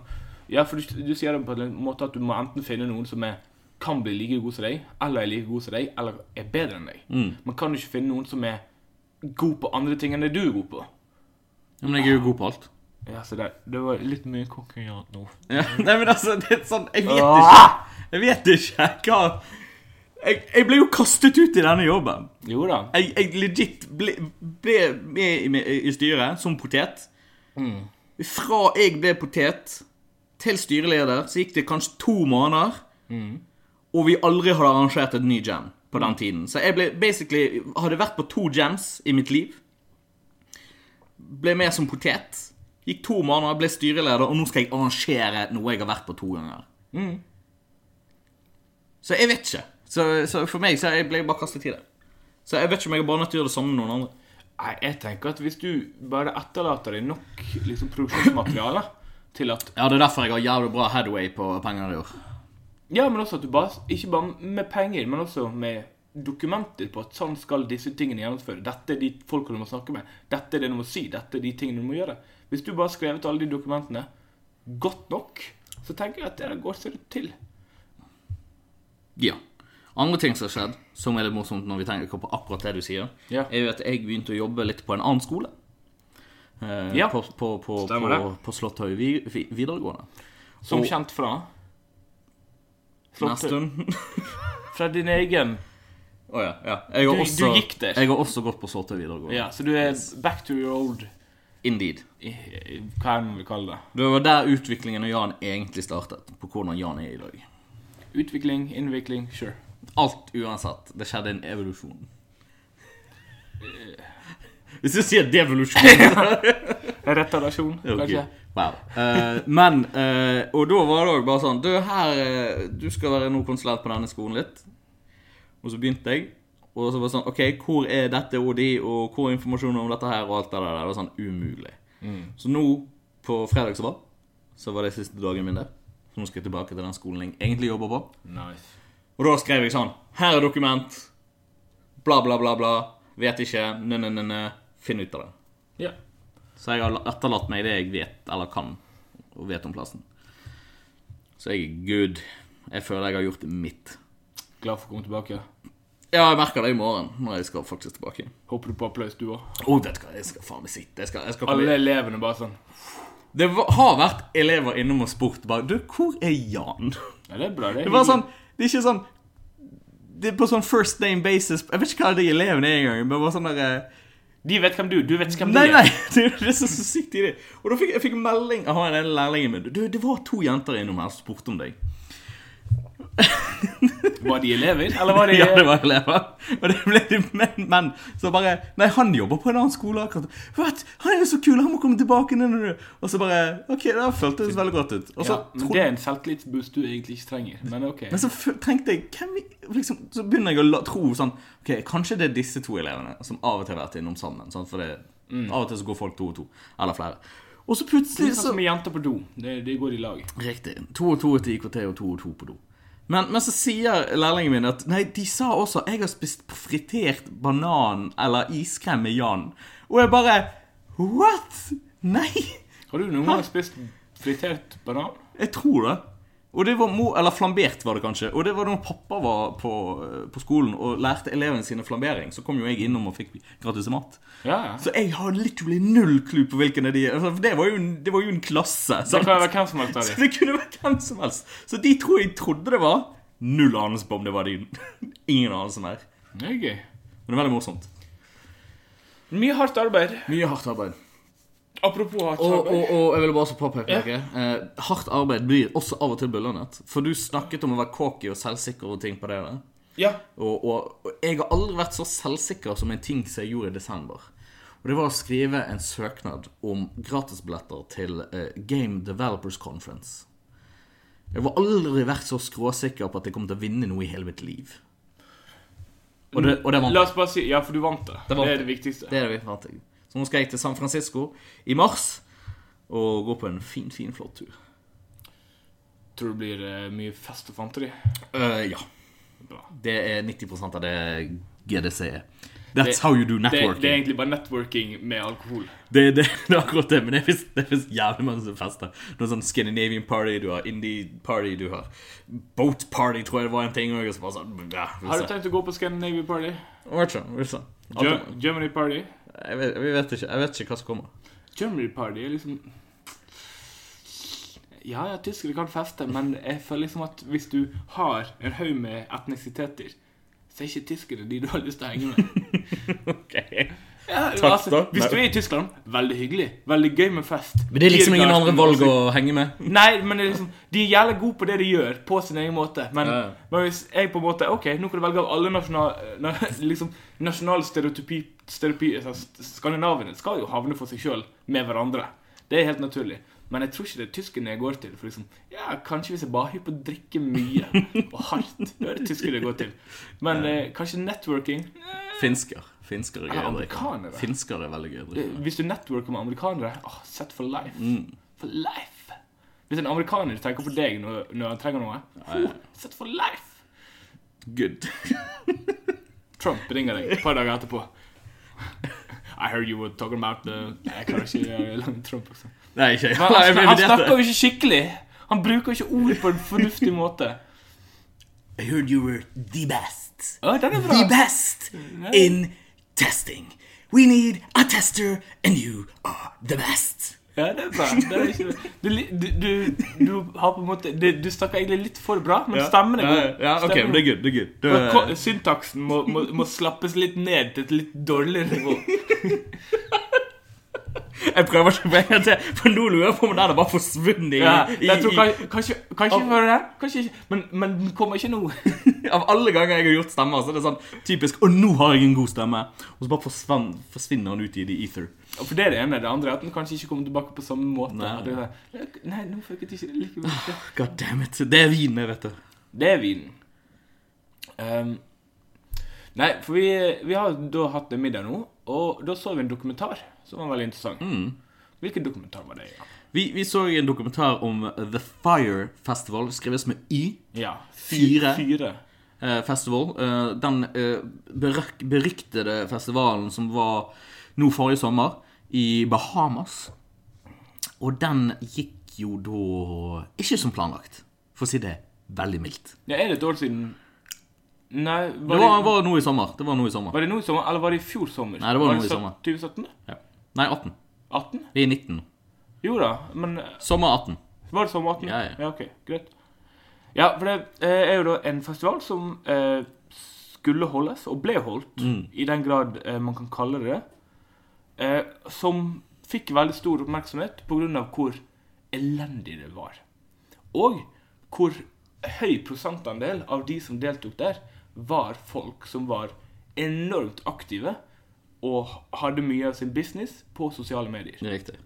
B: Ja, for du, du sier det på en måte at du må enten finne noen som er kan bli like god som deg, eller er like god som deg, eller er bedre enn deg. Man kan jo ikke finne noen som er god på andre ting enn det du er god på.
A: Men jeg er jo god på alt.
B: Ja, så det, det var litt mye konkurrent nå.
A: Ja. Nei, men altså, det er sånn Jeg vet ikke.
B: Ah!
A: Jeg vet ikke hva Jeg, jeg ble jo kastet ut i denne jobben.
B: Jo da.
A: Jeg, jeg legit ble, ble med, i- med i styret som potet. Fra jeg ble potet til styreleder, så gikk det kanskje to måneder, og vi aldri hadde arrangert et ny jam på den tiden. Så jeg ble basically hadde vært på to jams i mitt liv. Ble med som potet. Gikk to måneder, ble styreleder, og nå skal jeg arrangere noe jeg har vært på to ganger. Så jeg vet ikke. Så, så for meg så jeg ble jeg bare kastet i det. Så jeg vet ikke om jeg er bare nødt til å gjøre det samme med noen andre.
B: Nei, jeg tenker at hvis du bare etterlater deg nok liksom, produksjonsmateriale til at
A: Ja, det er derfor jeg har jævlig bra headway på penger i år.
B: Ja, men også at du bare Ikke bare med penger, men også med dokumenter på at sånn skal disse tingene gjennomføres. Dette er de folkene du må snakke med. Dette er det du må si. Dette er de tingene du må gjøre. Hvis du bare har skrevet alle de dokumentene godt nok, så tenker jeg at det går seg til.
A: Ja. Andre ting som har skjedd, som er litt morsomt når vi tenker på akkurat det du sier,
B: Ja.
A: er jo at jeg begynte å jobbe litt på en annen skole. Eh,
B: Ja.
A: På, på, på,
B: Stemmer
A: på,
B: det.
A: på Slotthøy vi- vi- videregående.
B: Som
A: Og-
B: kjent fra
A: Neste
B: Slottet.
A: stund.
B: Fra din egen
A: Å ja. ja. Jeg har
B: Du- du
A: også,
B: gikk der.
A: Jeg har også gått på Slotthøy videregående.
B: Ja, så du er back to your old
A: Indeed.
B: i- i- Hva er det vi kaller det?
A: Det var der utviklingen av Jan egentlig startet. På hvordan Jan er i dag.
B: Utvikling, innvikling, sure.
A: Alt uansett. Det skjedde en evolusjon. Hvis du sier devolusjon
B: Retarasjon,
A: Ok.
B: kanskje?
A: Wow. Eh, men eh, Og da var det òg bare sånn Du, her eh, Du skal være nå konsulent på denne skolen litt. Og så begynte jeg. Og så var det sånn OK, hvor er dette og de, og hvor er informasjonen om dette her, og alt det der? Det var sånn umulig. Så nå, på fredag som var, så var det siste dagen min der. Så nå skal jeg tilbake til den skolen jeg egentlig jobber på.
B: Nice.
A: Og da skrev jeg sånn Her er dokument. Bla, bla, bla, bla. Vet ikke. Nø-nø-nø. Finn ut av det.
B: Ja.
A: Så jeg har etterlatt meg det jeg vet, eller kan, og vet om plassen. Så jeg er good. Jeg føler jeg har gjort mitt.
B: Glad for å komme tilbake.
A: Ja, jeg merker det i morgen, når jeg skal faktisk tilbake.
B: Håper du på applaus, du òg.
A: Å, vet du hva, jeg skal faen meg sitte. Jeg skal, jeg skal
B: Alle
A: komme.
B: elevene bare sånn
A: Det var, har vært elever innom og spurt bare Du, hvor er Jan?
B: Ja, det er bra, det. er
A: Det var sånn
B: hyggelig.
A: Det er ikke sånn Det er på sånn first name basis Jeg vet ikke hva de elevene er engang, men bare sånn der eh,
B: De vet hvem du Du vet hvem
A: Nei,
B: de
A: nei,
B: er.
A: det er jo det som er så sykt i det. Og da fikk jeg fikk melding av han ene lærlingen min. Du, det var to jenter innom her som spurte om deg.
B: Var de elever, eller var de
A: Ja, det var elever. Og det ble de menn, menn som bare Nei, han jobber på en annen skole akkurat. Vet, han er jo så kul, han må komme tilbake. Nå, nå, nå. Og så bare Ok, det føltes veldig godt ut. Og så,
B: Ja, men
A: tro-
B: Det er en selvtillitsboost du egentlig ikke trenger, men OK.
A: men så f- tenkte jeg hvem, i- liksom, Så begynner jeg å la, tro sånn Ok, kanskje det er disse to elevene som av og til har vært innom sammen. Sant? For det, av og til så går folk to og to. Eller flere. Og så
B: Det er
A: plutselig
B: Mm. sånn
A: så
B: som med jenter på do. Det, det går i lag.
A: Riktig. To og to etter IKT og to og to på do. Men, men så sier lærlingen min at Nei, de sa også jeg har spist fritert banan eller iskrem med Jan. Og jeg bare What?! Nei!
B: Har du noen gang spist fritert banan?
A: Jeg tror det. Og det var mo Eller flambert, var det kanskje. Og det var da pappa var på, på skolen og lærte elevene sine flambering. Så kom jo jeg innom og fikk gratis mat.
B: Ja, ja.
A: Så jeg har literally null clue på hvilken av de altså, For det var jo en, det var jo en klasse.
B: Det
A: sant?
B: kan være hvem som helst av
A: Så
B: dem.
A: det kunne vært hvem som helst. Så de to jeg trodde det var Null anelse på om det var de. Ingen anelse mer.
B: Det er gøy.
A: Men det er veldig morsomt.
B: Mye hardt arbeid.
A: Mye hardt arbeid.
B: Apropos hardt
A: Og,
B: arbeid.
A: og, og jeg vil bare så påpeke noe. Eh, hardt arbeid blir også av og til belønnet. For du snakket om å være cocky og selvsikker og ting på det der.
B: Ja.
A: Og, og, og jeg har aldri vært så selvsikker som en ting som jeg gjorde i desember. Og det var å skrive en søknad om gratisbilletter til eh, Game Developers Conference. Jeg har aldri vært så skråsikker på at jeg kom til å vinne noe i hele mitt liv. Og det, og det vant
B: La
A: jeg.
B: oss bare si Ja, for du vant det.
A: vant
B: Det er
A: jeg.
B: det viktigste.
A: Det er det vi vant jeg. Så nå skal jeg til San Francisco i mars og gå på en fin, fin, flott tur.
B: Tror det blir eh, mye fest og fanteri.
A: Eh, ja.
B: Bra.
A: Det er 90 av det GDC er. That's how you do
B: Det,
A: networking.
B: det er egentlig bare networking med alkohol.
A: Det, det, det er akkurat det, men det finnes, det finnes jævlig mange som fester. Noen sånn Scandinavian party, du har indie party, du har boat party, tror jeg det var en ting. Og så bare sånn, ja, vi
B: Har du
A: ser.
B: tenkt å gå på Scandinavia Party?
A: Vet ikke, vi ser. Alt
B: Ge-
A: om-
B: Germany Party?
A: Jeg vet, vi vet ikke, jeg vet ikke hva som kommer.
B: Germany Party er liksom Ja, ja, tyskere kan feste, men jeg føler liksom at hvis du har en haug med etnisiteter, så er ikke tyskere de du har lyst til å henge med. Ja, altså,
A: Takk, da.
B: Hvis du er i Tyskland, veldig hyggelig. Veldig gøy med fest.
A: Men det er liksom
B: De
A: ingen
B: glad-
A: andre valg å henge med.
B: Nei, men det er liksom, de er jævlig gode på det de gjør, på sin egen måte. Men,
A: Ja, ja.
B: men hvis jeg på en måte Ok, nå kan du velge av alle nasjonal, na, liksom, nasjonal stereotypi, eh, stereotypi altså, st- Skandinavene skal jo havne for seg sjøl med hverandre. Det er helt naturlig. Men jeg tror ikke det er tyskerne jeg går til. For liksom, ja, Kanskje hvis jeg bare er hypp på å drikke mye og hardt. Da er det tyskere jeg går til. Men eh, kanskje networking.
A: Finsker. Finsker er gøy å drikke.
B: amerikanere.
A: Finsker er veldig gøy å drikke.
B: Eh, Hvis du networker med amerikanere åh, Set for life.
A: Mm.
B: For life! Hvis en amerikaner tenker på deg når, når han trenger noe oh, Set for life!
A: Good.
B: Trump ringer deg et par dager etterpå. I heard you were talking about the Jeg klarer ikke jeg er lang Trump, også.
A: Nei, ikke jeg
B: Men han, snak- han
A: reviderte.
B: snakker jo ikke skikkelig. Han bruker ikke ord på en fornuftig måte.
D: I heard you were the best.
B: Ja, den er
D: The
B: bra.
D: best
A: Mm-hmm.
D: in testing. We need a tester, and you are the best.
B: Ja, det er bra. Det er ikke, du, li- du, du, du har på en måte Du, du snakker egentlig litt for bra, men stemmen er
A: Ja,
B: god.
A: ja, ok,
B: Stemmen
A: men det er good. det er good. Du,
B: Men ko-
A: eh,
B: Syntaksen må, må, må slappes litt ned til et litt dårligere nivå.
A: jeg prøver ikke å bringe det til, for nå lurer jeg på om den har bare forsvunnet i,
B: Ja,
A: i,
B: jeg tror
A: i,
B: kanskje, kanskje, kanskje hører den, kanskje ikke, men, men den kommer ikke nå.
A: Av alle ganger jeg har gjort stemmer, så er det sånn typisk Og nå har jeg en god stemme. Og så bare forsvann, forsvinner han ut i the ether.
B: For det er det ene. Det andre er at den kanskje ikke kommer tilbake på samme måte.
A: Nei.
B: Det er sånn, Nei, nå funket ikke det like mye.
A: God damn it. Det er vin, det, vet du.
B: Det er vinen. Ehm, nei, for vi, vi har da hatt en middag nå, og da så vi en dokumentar som var veldig interessant. Hvilken dokumentar var det? Ja,
A: Vi, vi så en dokumentar om The Fire Festival, skrives med Y.
B: ja
A: Fyre.
B: Fyre.
A: eh, Festival. Eh, Den eh, berøk- beryktede festivalen som var nå forrige sommer i Bahamas. Og den gikk jo da ikke som planlagt, for å si det veldig mildt.
B: Ja, er det et år siden? Nei, var
A: Det
B: det,
A: var, var nå i sommer. Det var nå i sommer.
B: var det nå i sommer, eller var det i fjor sommer?
A: Nei, det var nå i
B: så-
A: sommer.
B: 2017? da?
A: Ja. Nei, 18.
B: 18?
A: Vi er 19 nå.
B: Jo da, men eh,
A: Sommer 18.
B: var det sommer 18?
A: Ja, ja.
B: ja ok, greit. Ja, for det eh, er jo da en festival som eh, skulle holdes, og ble holdt,
A: Mm.
B: i den grad eh, man kan kalle det det, eh, som fikk veldig stor oppmerksomhet på grunn av hvor elendig det var. Og hvor høy prosentandel av de som deltok der, var folk som var enormt aktive og hadde mye av sin business på sosiale medier.
A: Det er riktig.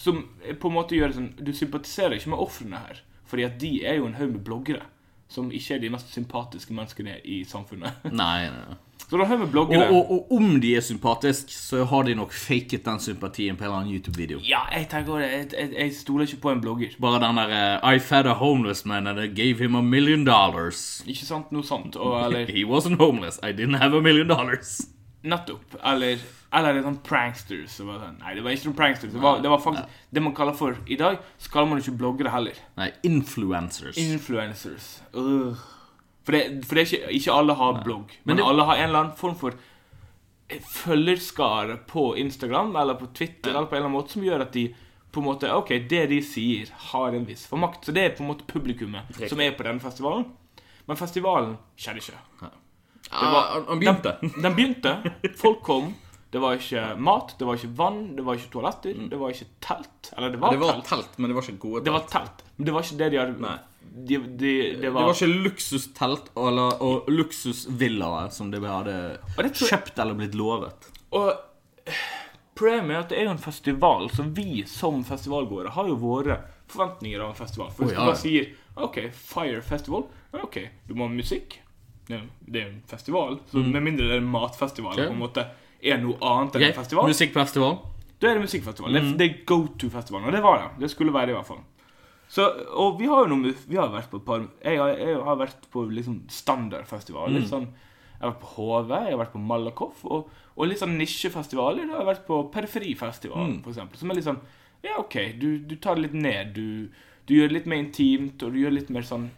B: Som på en måte gjør det sånn Du sympatiserer ikke med ofrene her. Fordi at de er jo en haug med bloggere. Som ikke er de mest sympatiske menneskene i samfunnet.
A: Nei, nei, nei.
B: Så det er en haug
A: Mm.
B: med
A: Og,
B: bloggere.
A: og, og om de er sympatiske, så har de nok faket den sympatien på en eller annen YouTube-video.
B: Ja, jeg tenker også det. Jeg, jeg, jeg stoler ikke på en blogger.
A: Bare den der eh, I fed a homeless man and I gave him a million dollars.
B: Ikke sant? Noe sant. Og, eller
A: He wasn't homeless. I didn't have a million dollars.
B: nettopp. Eller eller en sånn prankster. Så var det sånn, nei, det var ikke noen prankster. Det var, det var faktisk det man kaller for I dag så kaller man ikke bloggere heller.
A: Nei, influencers.
B: Influencers. Øh. For det, for det er ikke, ikke alle har blogg, men,
A: Men det-
B: alle har en eller annen form for eh, følgerskare på Instagram eller på Twitter eller på en eller annen måte som gjør at de på en måte, ok, det de sier, har en viss formakt. Så det er på en måte publikummet som er på denne festivalen. Men festivalen skjedde ikke.
A: det var, Ah, han- han begynte.
B: Den begynte, folk kom. Det var ikke mat, det var ikke vann, det var ikke toaletter, det var ikke telt. Eller Mm. det var,
A: Det var
B: telt.
A: telt, men det var ikke gode telt.
B: Det var telt, men det var ikke det de hadde
A: Nei.
B: De, de, det
A: Det var, ikke luksustelt eller, og luksusvillaer som de hadde
B: Og det tror jeg-
A: kjøpt eller blitt lovet.
B: Og problemet er at det er jo en festival, så vi som festivalgåere har jo våre forventninger av en festival. For
A: Å,
B: hvis
A: ja,
B: du
A: ja.
B: bare sier OK, Fire Festival, ja, OK, du må ha musikk. Det er jo- det er jo en festival, så med mindre det er en matfestival
A: Mm. Ja.
B: på en måte er noe annet
A: Ok,
B: enn en festival,
A: Musikkfestival.
B: da er det musikkfestival. Det er- Det er go to-festivalen, og det var det. Det skulle være det, i hvert fall. Så, og vi har jo noe, mu- vi har vært på et par Jeg har, jeg har vært på liksom standardfestivaler. litt Sånn, jeg har vært på HV, jeg har vært på Malakoff, og, og litt sånn nisjefestivaler. Da har jeg vært på Periferifestivalen, for eksempel Som er litt sånn Ja, OK, du, du tar det litt ned. Du, du gjør det litt mer intimt, og du gjør det litt mer sånn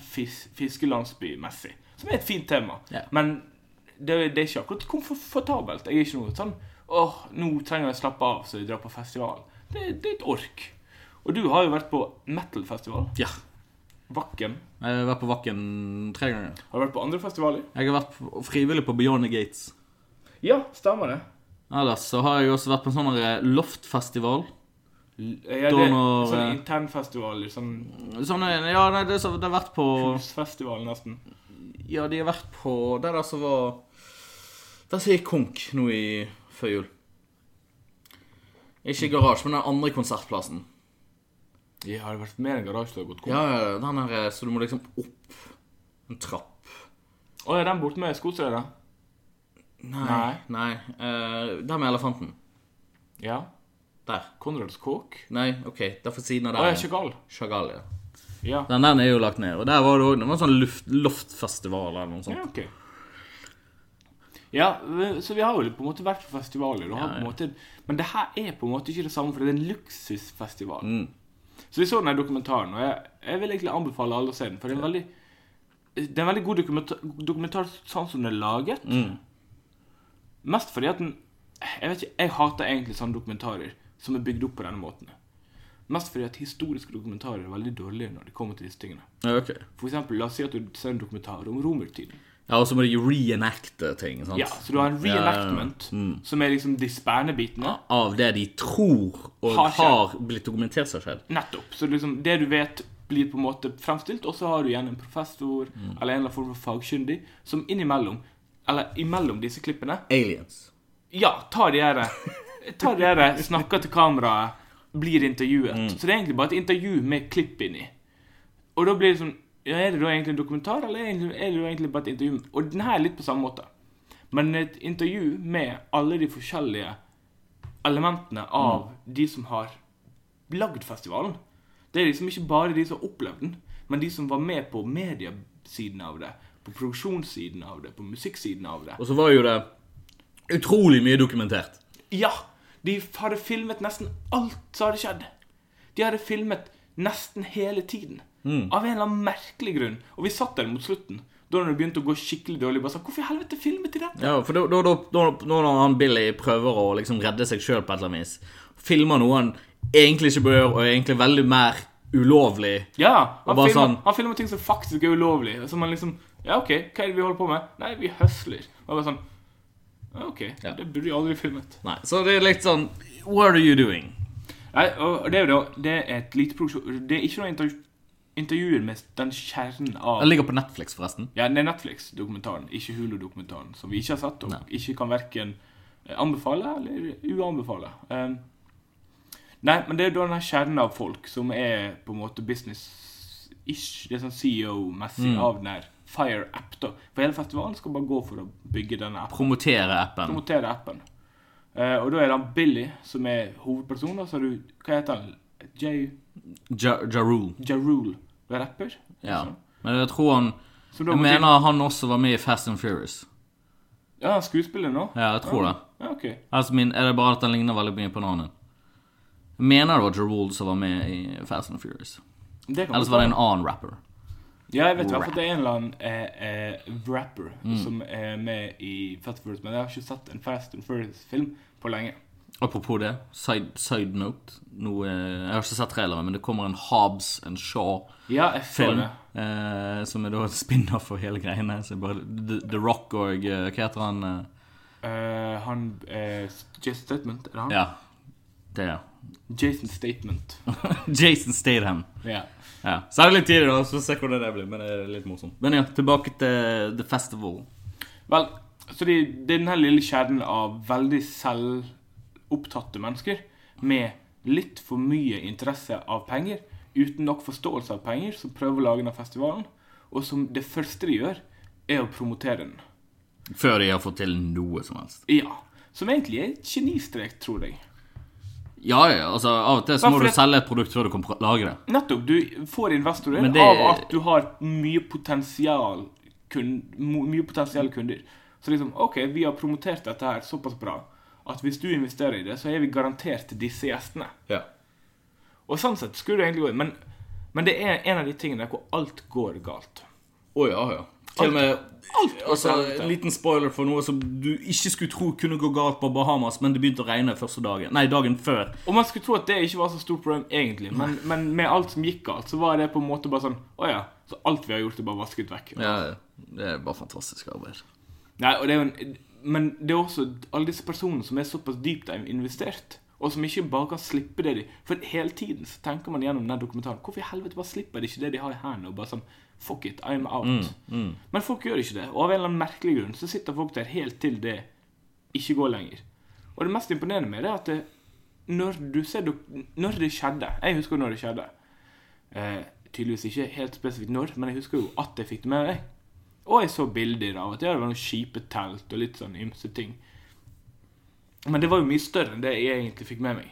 B: fis, fiskelandsbymessig. Som er et fint tema.
A: Ja.
B: Men det, det er ikke akkurat komfortabelt. Jeg er ikke noe sånn åh, nå trenger jeg å slappe av, så jeg drar på festival. Det, det er et ork. Og du har jo vært på metal-festival.
A: Ja.
B: Vakken.
A: Jeg har vært på Vakken tre ganger.
B: Har du vært på andre festivaler?
A: Jeg har vært på- frivillig på Beyond the Gates.
B: Ja, stemmer det.
A: Ellers så har jeg også vært på en sånn her loftfestival.
B: Ja, det
A: Da
B: er
A: når,
B: sånn
A: eh,
B: internfestivaler, sånn
A: Sånn, ja, nei, det, er så, det har vært på
B: husfestival nesten.
A: Ja, de har vært på Der altså var Der sier Konk nå i før jul. Ikke garasje, men den andre konsertplassen.
B: Jeg har vært mer enn garasje til å gått
A: Ja, ja, den her, så du må liksom opp en trapp.
B: Å, er den borte med skotøyet, da?
A: Nei.
B: Nei.
A: nei. eh, der med elefanten.
B: Ja.
A: Der.
B: Konrads kåk?
A: Nei, OK. Der for siden av
B: Å,
A: der.
B: jeg er ikke gal.
A: Chagall, ja.
B: Ja.
A: Den der er jo lagt ned. Og der var det òg noe sånn luft, loftfestival eller noe sånt.
B: ja, ok. Ja, eh, så vi har jo på en måte vært på festivaler. Og har på en måte, men det her er på en måte ikke det samme, for det er en luksusfestival.
A: Mm.
B: Så vi så den her dokumentaren, og jeg, jeg vil egentlig anbefale alle å se den. For det er en veldig, det er en veldig god dokumentar, dokumentar sånn som den er laget. Mest fordi at den Jeg vet ikke, jeg hater egentlig sånne dokumentarer som er bygd opp på denne måten. Mest fordi at historiske dokumentarer er veldig dårlige når det kommer til disse tingene.
A: Ja, ok.
B: For eksempel, la oss si at du ser en dokumentar om romertiden.
A: Ja, og så må de reenacte ting. sant?
B: Ja, så du har en reenactment, som er liksom de spennende bitene.
A: Av det de tror og
B: Har
A: har,
B: skjedd.
A: blitt dokumentert som har skjedd.
B: Nettopp. Så liksom, det du vet, blir på en måte fremstilt, og så har du igjen en professor eller en eller annen form for fagkyndig som innimellom, eller imellom disse klippene,
A: Aliens.
B: ja, tar de her Tar de her, snakker til kameraet, blir intervjuet. Så det er egentlig bare et intervju med klipp inni. Og da blir det sånn ja, Er det da egentlig en dokumentar, eller er det er det da egentlig bare et intervju? Og den her er litt på samme måte. Men et intervju med alle de forskjellige elementene av de som har lagd festivalen. Det er liksom ikke bare de som har opplevd den, men de som var med på mediesiden av det, på produksjonssiden av det, på musikksiden av det.
A: Og så var jo det utrolig mye dokumentert.
B: Ja, de hadde filmet nesten alt som hadde skjedd. De hadde filmet nesten hele tiden.
A: Mm.
B: Av en eller annen merkelig grunn. Og vi satt der mot slutten. Da det begynte å gå skikkelig dårlig, bare sa Hvorfor i helvete filmet de dette?
A: Ja, for da, da, da, da, når han Billy prøver å liksom redde seg sjøl på et eller annet vis, filmer noe han egentlig ikke bør, og egentlig veldig mer ulovlig
B: Ja, han,
A: Og bare
B: filmer,
A: sånn-
B: han filmer ting som faktisk er ulovlig. Så man liksom Ja, OK, hva er det vi holder på med? Nei, vi høsler. Og bare sånn «Ja, OK, det burde jeg aldri filmet.
A: Nei, Så det er litt sånn What are you doing?
B: Nei, og det er jo da Det er et lite produksjon... Det er ikke noe intervju intervjuer med den kjernen av
A: Den ligger på Netflix, forresten.
B: Ja, det er Netflix-dokumentaren, ikke Hulu-dokumentaren, som vi ikke har sett, og ikke kan hverken eh, anbefale eller uanbefale. Um, nei, men det er da den her kjernen av folk som er på en måte business-ish, det er sånn CEO-messig
A: Mm.
B: av den her Fire-app, da. For hele festivalen skal bare gå for å bygge denne appen,
A: Promotere appen.
B: promotere appen. Eh, og da er det han Billy som er hovedpersonen, og så har du, hva heter han, J.
A: Ja, Jarul.
B: Jarul, du er rapper?
A: Ja.
B: liksom.
A: Men jeg tror han
B: Som da
A: Jeg
B: må til-
A: mener han også var med i Fast and Furious.
B: Ja, han er skuespiller nå?
A: Ja, jeg tror det.
B: Ja, ok.
A: Altså min, er det bare at han ligner veldig mye på en annen? Jeg mener det var Jarul som var med i Fast and Furious.
B: Det kan
A: Ellers
B: godt
A: var
B: være.
A: det en annen rapper.
B: Ja, jeg vet i hvert fall at det er en eller annen eh, eh, rapper som er med i Fast and Furious, men jeg har ikke sett en Fast and Furious-film på lenge.
A: Apropos det, side, side note noe, Jeg har ikke sett traileren, men det kommer en Hobbs and Shaw-film.
B: Ja, jeg så det.
A: Eh, som er da en spin-off for hele greiene. Så bare The, The Rock og eh, Hva heter han? Eh,
B: Eh, han eh, Jason Statement, er det han?
A: ja. Det, ja.
B: Jason Statement.
A: Jason Statham.
B: Ja.
A: Ja. Så er det litt tidlig, da, så se hvordan det blir. Men det er litt morsomt. Men ja, tilbake til The Festival.
B: Vel, så det, det er den her lille kjernen av veldig selvopptatte mennesker med litt for mye interesse av penger, uten nok forståelse av penger, som prøver å lage denne festivalen, og som det første de gjør, er å promotere den.
A: Før de har fått til noe som helst.
B: Ja. Som egentlig er et genistrek, tror jeg.
A: Ja, ja, altså Av og til så
B: Ja,
A: må
B: for
A: du
B: det-
A: selge et produkt før du kan pr- lage det.
B: Nettopp. Du får investorer
A: Men det-
B: av at du har mye potensial, kun, mo- mye potensielle kunder. Så liksom OK, vi har promotert dette her såpass bra at hvis du investerer i det, så er vi garantert disse gjestene.
A: Ja.
B: Og sånn sett skulle det egentlig gå men, men det er en av de tingene der hvor alt går galt.
A: Å ja, ja. Til og med
B: Alt går
A: altså,
B: galt.
A: En liten spoiler for noe som du ikke skulle tro kunne gå galt på Bahamas, men det begynte å regne første dagen. Nei, dagen før.
B: Og man skulle tro at det ikke var så stort problem egentlig, men, men med alt som gikk galt, så var det på en måte bare sånn Å ja. Så alt vi har gjort, er bare vasket vekk.
A: Ja, det er bare fantastisk arbeid.
B: Nei, og det er jo en, men det er også alle disse personene som er såpass dypt investert, og som ikke bare kan slippe det de For hele tiden så tenker man gjennom den dokumentaren Hvorfor i helvete bare slipper de ikke det de har i hendene, og bare sånn Fuck it, I'm
A: Mm,
B: out. Men folk gjør ikke det, og av en eller annen merkelig grunn så sitter folk der helt til det ikke går lenger. Og det mest imponerende med det er at det, når du ser dok- Når det skjedde Jeg husker når det skjedde. Eh, tydeligvis ikke helt spesifikt når, men jeg husker jo at jeg fikk det med meg. Og jeg så bilder av at ja, det var noen kjipe telt og litt sånn ymse ting. Men det var jo mye større enn det jeg egentlig fikk med meg.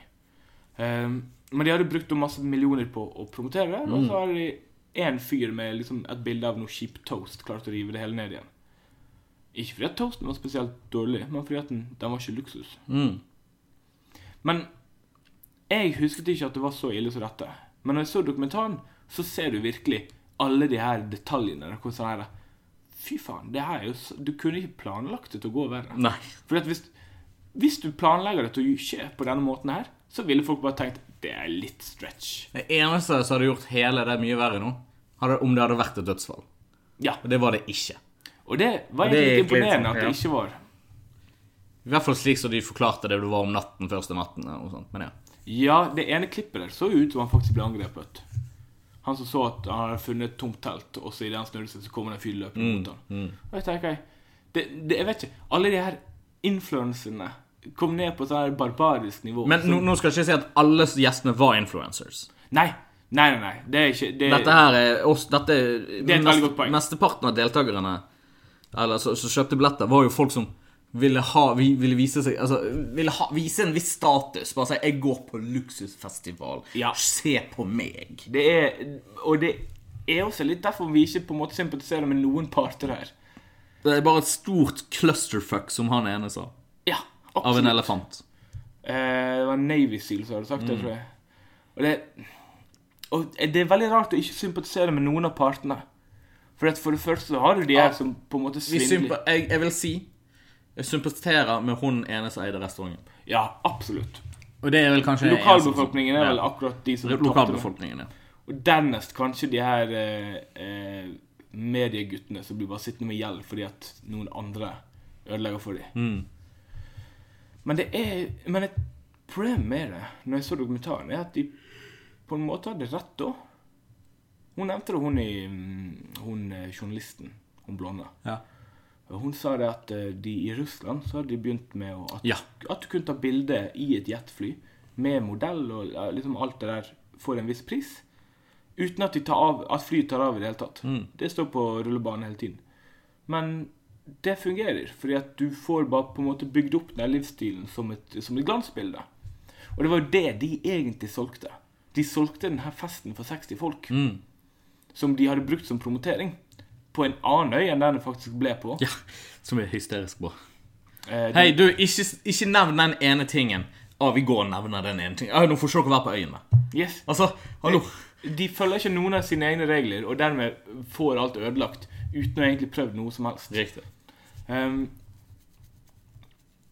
B: Ehm, men de hadde brukt jo masse millioner på å promotere det, og så hadde de én fyr med liksom et bilde av noe kjip toast klart å rive det hele ned igjen. Ikke fordi at toasten var spesielt dårlig, men fordi at den, den var ikke luksus.
A: mm.
B: Men jeg husket ikke at det var så ille som dette. Men når jeg så dokumentaren, så ser du virkelig alle de her detaljene. der, Hvordan sånn her Fy faen, det her er jo så, Du kunne ikke planlagt det til å gå verre.
A: Nei.
B: Fordi at hvis, hvis du planlegger det til å skje på denne måten her, så ville folk bare tenkt det er litt stretch.
A: Det eneste som hadde gjort hele det mye verre nå, hadde, om det hadde vært et dødsfall.
B: Ja.
A: Og det var det ikke.
B: Og det var
A: Og det
B: egentlig
A: er
B: litt
A: egentlig
B: imponerende at det
A: sånn,
B: ikke var.
A: I hvert fall slik som de forklarte det det var om natten første natten. Og sånt. Men ja.
B: Ja, det ene klippet der så jo ut som han faktisk ble angrepet. Han som så at han hadde funnet et tomt telt, og så idet han snudde seg, så kom det en fyr løpende
A: Mm,
B: mot han. Og jeg tenker, det, det, jeg vet ikke, alle de her influenserne kom ned på et sånt her barbarisk nivå.
A: Men nå, nå skal jeg ikke si at alle gjestene var influencers.
B: Nei, nei, nei, nei, det er ikke... Det,
A: Dette her er oss Dette
B: Det er et veldig godt poeng.
A: Mesteparten av deltakerne Eller som som kjøpte billetter, var jo folk som ville ha vi- Ville vise seg Altså ville ha, vise en viss status. Bare si 'Jeg går på luksusfestival.
B: Ja.
A: Se på meg'.
B: Det er, og det er også litt derfor vi ikke på en måte sympatiserer med noen parter her.
A: Det er bare et stort clusterfuck, som han ene sa.
B: Ja,
A: Av en
B: absolutt.
A: elefant.
B: Eh, det var Navy Seal som hadde sagt
A: Mm.
B: det, tror jeg. Og det, og det er veldig rart å ikke sympatisere med noen av partene. For, at for det første så har du de her som på en
A: Vi
B: måte svindler.
A: sympa, jeg, jeg vil si Jeg sympatiserer med hun ene som eide restauranten.
B: Ja, absolutt.
A: Og det er vel kanskje det eneste som-
B: Lokalbefolkningen er vel akkurat de som
A: Ja,
B: tapte det.
A: Lokalbefolkningen, ja.
B: Og dernest kanskje de her eh, eh, medieguttene som blir bare sittende med gjeld fordi at noen andre ødelegger for dem. Men det er Men et problem med det, når jeg så dokumentaren, er at de på en måte hadde rett da. Hun nevnte det, hun, i, mm, hun eh, journalisten, hun blonde.
A: Ja.
B: Og Hun sa det at eh, de i Russland så hadde de begynt med å, at,
A: Ja.
B: at du kunne ta bilde i et jetfly med modell og eh, liksom alt det der for en viss pris. Uten at, de tar av, at flyet tar av i det hele tatt.
A: Mm.
B: Det står på rullebanen hele tiden. Men det fungerer, fordi at du får bare på en måte bygd opp den livsstilen som et, som et glansbilde. Og det var jo det de egentlig solgte. De solgte denne festen for 60 folk.
A: Mm.
B: Som de hadde brukt som promotering. På en annen øy enn den det faktisk ble på.
A: ja. Som er hysterisk bra.
B: Eh, de-
A: Hei, du, ikke, ikke nevn den ene tingen. Å, vi går og nevner den ene tingen. Å, nå får ikke dere være på øyen med.
B: Yes.
A: Altså, hallo.
B: De følger ikke noen av sine egne regler, og dermed får alt ødelagt uten å egentlig prøvd noe som helst.
A: Riktig.
B: Ehm,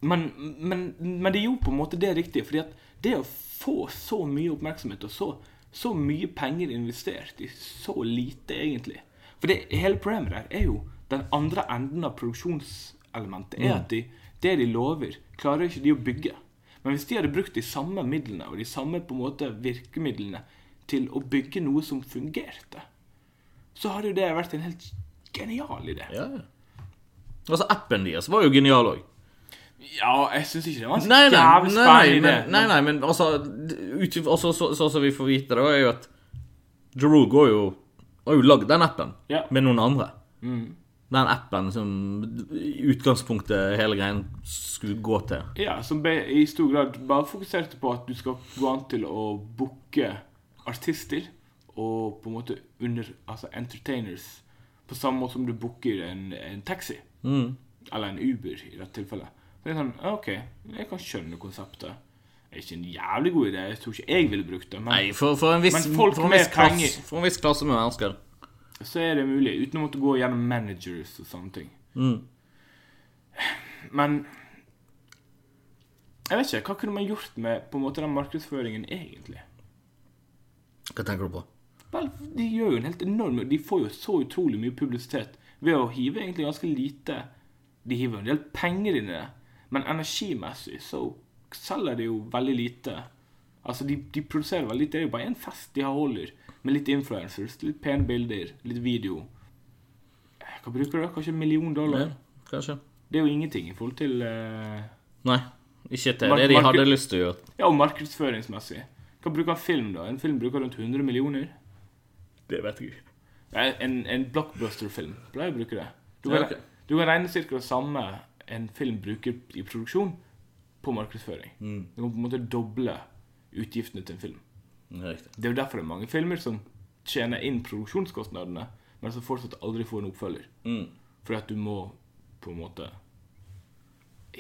B: men, men, men det er jo på en måte det riktige, fordi at det å få så mye oppmerksomhet og så, så mye penger investert i så lite, egentlig For det, hele problemet der er jo den andre enden av produksjonselementet. er at de, Det de lover, klarer ikke de å bygge. Men hvis de hadde brukt de samme midlene og de samme på en måte virkemidlene til å bygge noe som fungerte, så hadde jo det vært en helt genial idé.
A: Ja. Altså, appen deres var jo genial òg.
B: Ja, jeg syns ikke det var en
A: Nei, nei,
B: jævlig
A: nei,
B: spennende
A: nei,
B: idé.
A: men, nei, nei, men altså ut, altså, så, så, så vi får vite det, da, er jo at Jeroo går jo Har jo lagd den appen
B: Ja.
A: med noen andre. Mm. Den appen som i utgangspunktet hele greien skulle gå til.
B: Ja, som be, i stor grad bare fokuserte på at du skal gå an til å booke artister og på en måte under, altså entertainers på samme måte som du booker en, en taxi.
A: Mm.
B: Eller en Uber, i dette tilfellet. Så det er sånn, OK, jeg kan skjønne konseptet. Det er ikke en jævlig god idé. Jeg tror ikke jeg ville brukt det. Men
A: Nei, for, for en viss,
B: Men folk
A: for en
B: med
A: viss klasse,
B: penger-
A: for en viss klasse med mennesker.
B: så er det mulig, uten å måtte gå gjennom managers og sånne ting. Men jeg vet ikke, hva kunne man gjort med på en måte den markedsføringen egentlig?
A: Hva tenker du på?
B: Vel, de gjør jo en helt enorm De får jo så utrolig mye publisitet ved å hive egentlig ganske lite De hiver en del penger inn i det, men energimessig så selger de jo veldig lite. Altså, de, de produserer veldig lite. Det er jo bare én fest de har holder, med litt influencers, litt pene bilder, litt video. Eh, Hva bruker du? Kanskje en million dollar?
A: Ja, kanskje.
B: Det er jo ingenting i forhold til eh,
A: Nei. Ikke til
B: Mark-
A: det de
B: Mark-
A: hadde lyst til å gjøre.
B: Ja, og markedsføringsmessig. Hva bruker en film, da? En film bruker rundt 100 millioner.
D: Det vet jeg ikke.
B: Nei, En, en blockbuster-film pleier å bruke det. Du
A: Ja,
B: kan,
A: ok.
B: du kan regne cirka det samme en film bruker i produksjon, på markedsføring.
A: Mm.
B: Du kan på en måte doble utgiftene til en film.
A: Det er Mm, Riktig.
B: Det er jo derfor det er mange filmer som tjener inn produksjonskostnadene, men som fortsatt aldri får en oppfølger.
A: Mm,
B: Fordi at du må på en måte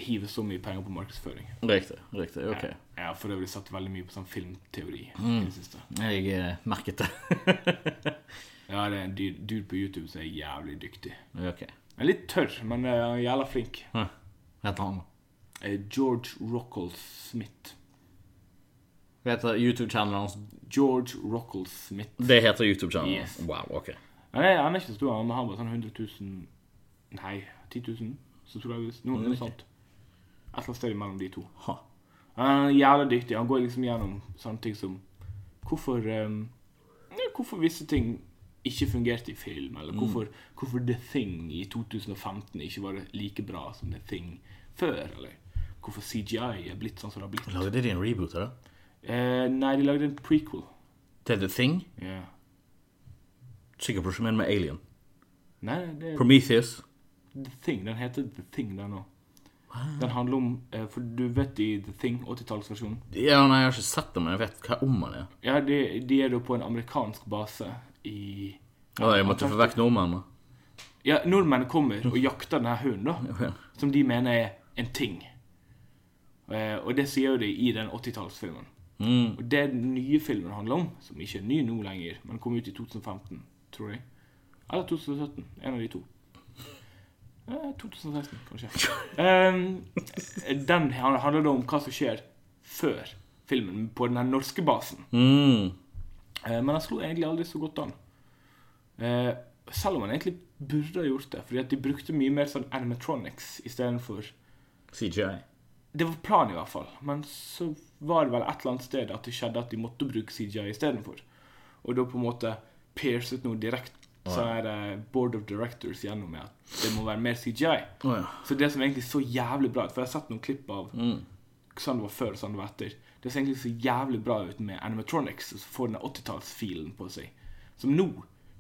B: hive så mye penger på markedsføring.
A: Riktig. Riktig. Ok. Mm.
B: Jeg- Jeg har for øvrig satt veldig mye på sånn filmteori i det siste.
A: Jeg eh, merket det.
B: Ja, det er en dude dude på YouTube som er jævlig dyktig.
A: ok.
B: Han er litt tørr, men uh, jævla flink.
A: Hæ. Heter han
B: Eh, George Rockall Smith.
A: Hva heter YouTube-channelen hans?
B: George Rockall Smith.
A: Det heter YouTube-channelen hans.
B: Yes.
A: Wow, ok.
B: Han er, han er ikke så stor, han har bare sånn 100 000 Nei, 10 000 subscribers. Noe, noe sånt. Et eller annet sted mellom de to.
A: Ha.
B: Han er jævla dyktig. Han går liksom gjennom sånne ting som Hvorfor ehm, ja, Hvorfor visse ting ikke fungerte i film? Eller hvorfor, hvorfor The Thing i 2015 ikke var like bra som The Thing før? Eller hvorfor CGI er blitt sånn som det har blitt?
A: Lagde de en reboot av det?
B: Eh, nei, de lagde en prequel.
A: Til The Thing?
B: Ja.
A: Sikkert på med Alien.
B: Nei, nei, det er
A: Prometheus.
B: The Thing. Den heter The Thing, den òg. Den handler om eh, For du vet i The Thing, 80-tallsversjonen
A: Ja, nei, jeg har ikke sett det, men jeg vet hva om han er.
B: Ja, de, de er da på en amerikansk base i
A: Å, jeg måtte få vekk nordmennene.
B: Ja, nordmenn kommer og jakter denne hunden, da.
A: Ja.
B: Som de mener er en ting. Eh, og det sier jo de i den 80-tallsfilmen.
A: Mm,
B: Og det den nye filmen handler om, som ikke er ny nå lenger, men kom ut i 2015, tror jeg. Eller 2017. En av de to. Eh, 2016, kanskje. Eh, den handler da om hva som skjer før filmen på den her norske basen.
A: Mm.
B: Eh, Men han slo egentlig aldri så godt an. Eh, selv om han egentlig burde ha gjort det, fordi at de brukte mye mer sånn animatronics istedenfor
A: CGI.
B: Det var planen, i hvert fall, men så var det vel et eller annet sted at det skjedde at de måtte bruke CGI istedenfor. Og da på en måte piercet noe direkte sånn her eh, Board of Directors gjennom med at det må være mer CGI.
A: Å ja.
B: Så det som egentlig så jævlig bra ut For jeg har sett noen klipp av sånn det var før, sånn det var etter. Det ser egentlig så jævlig bra ut med animatronics, og så får den 80-tallsfilen på seg. Som nå.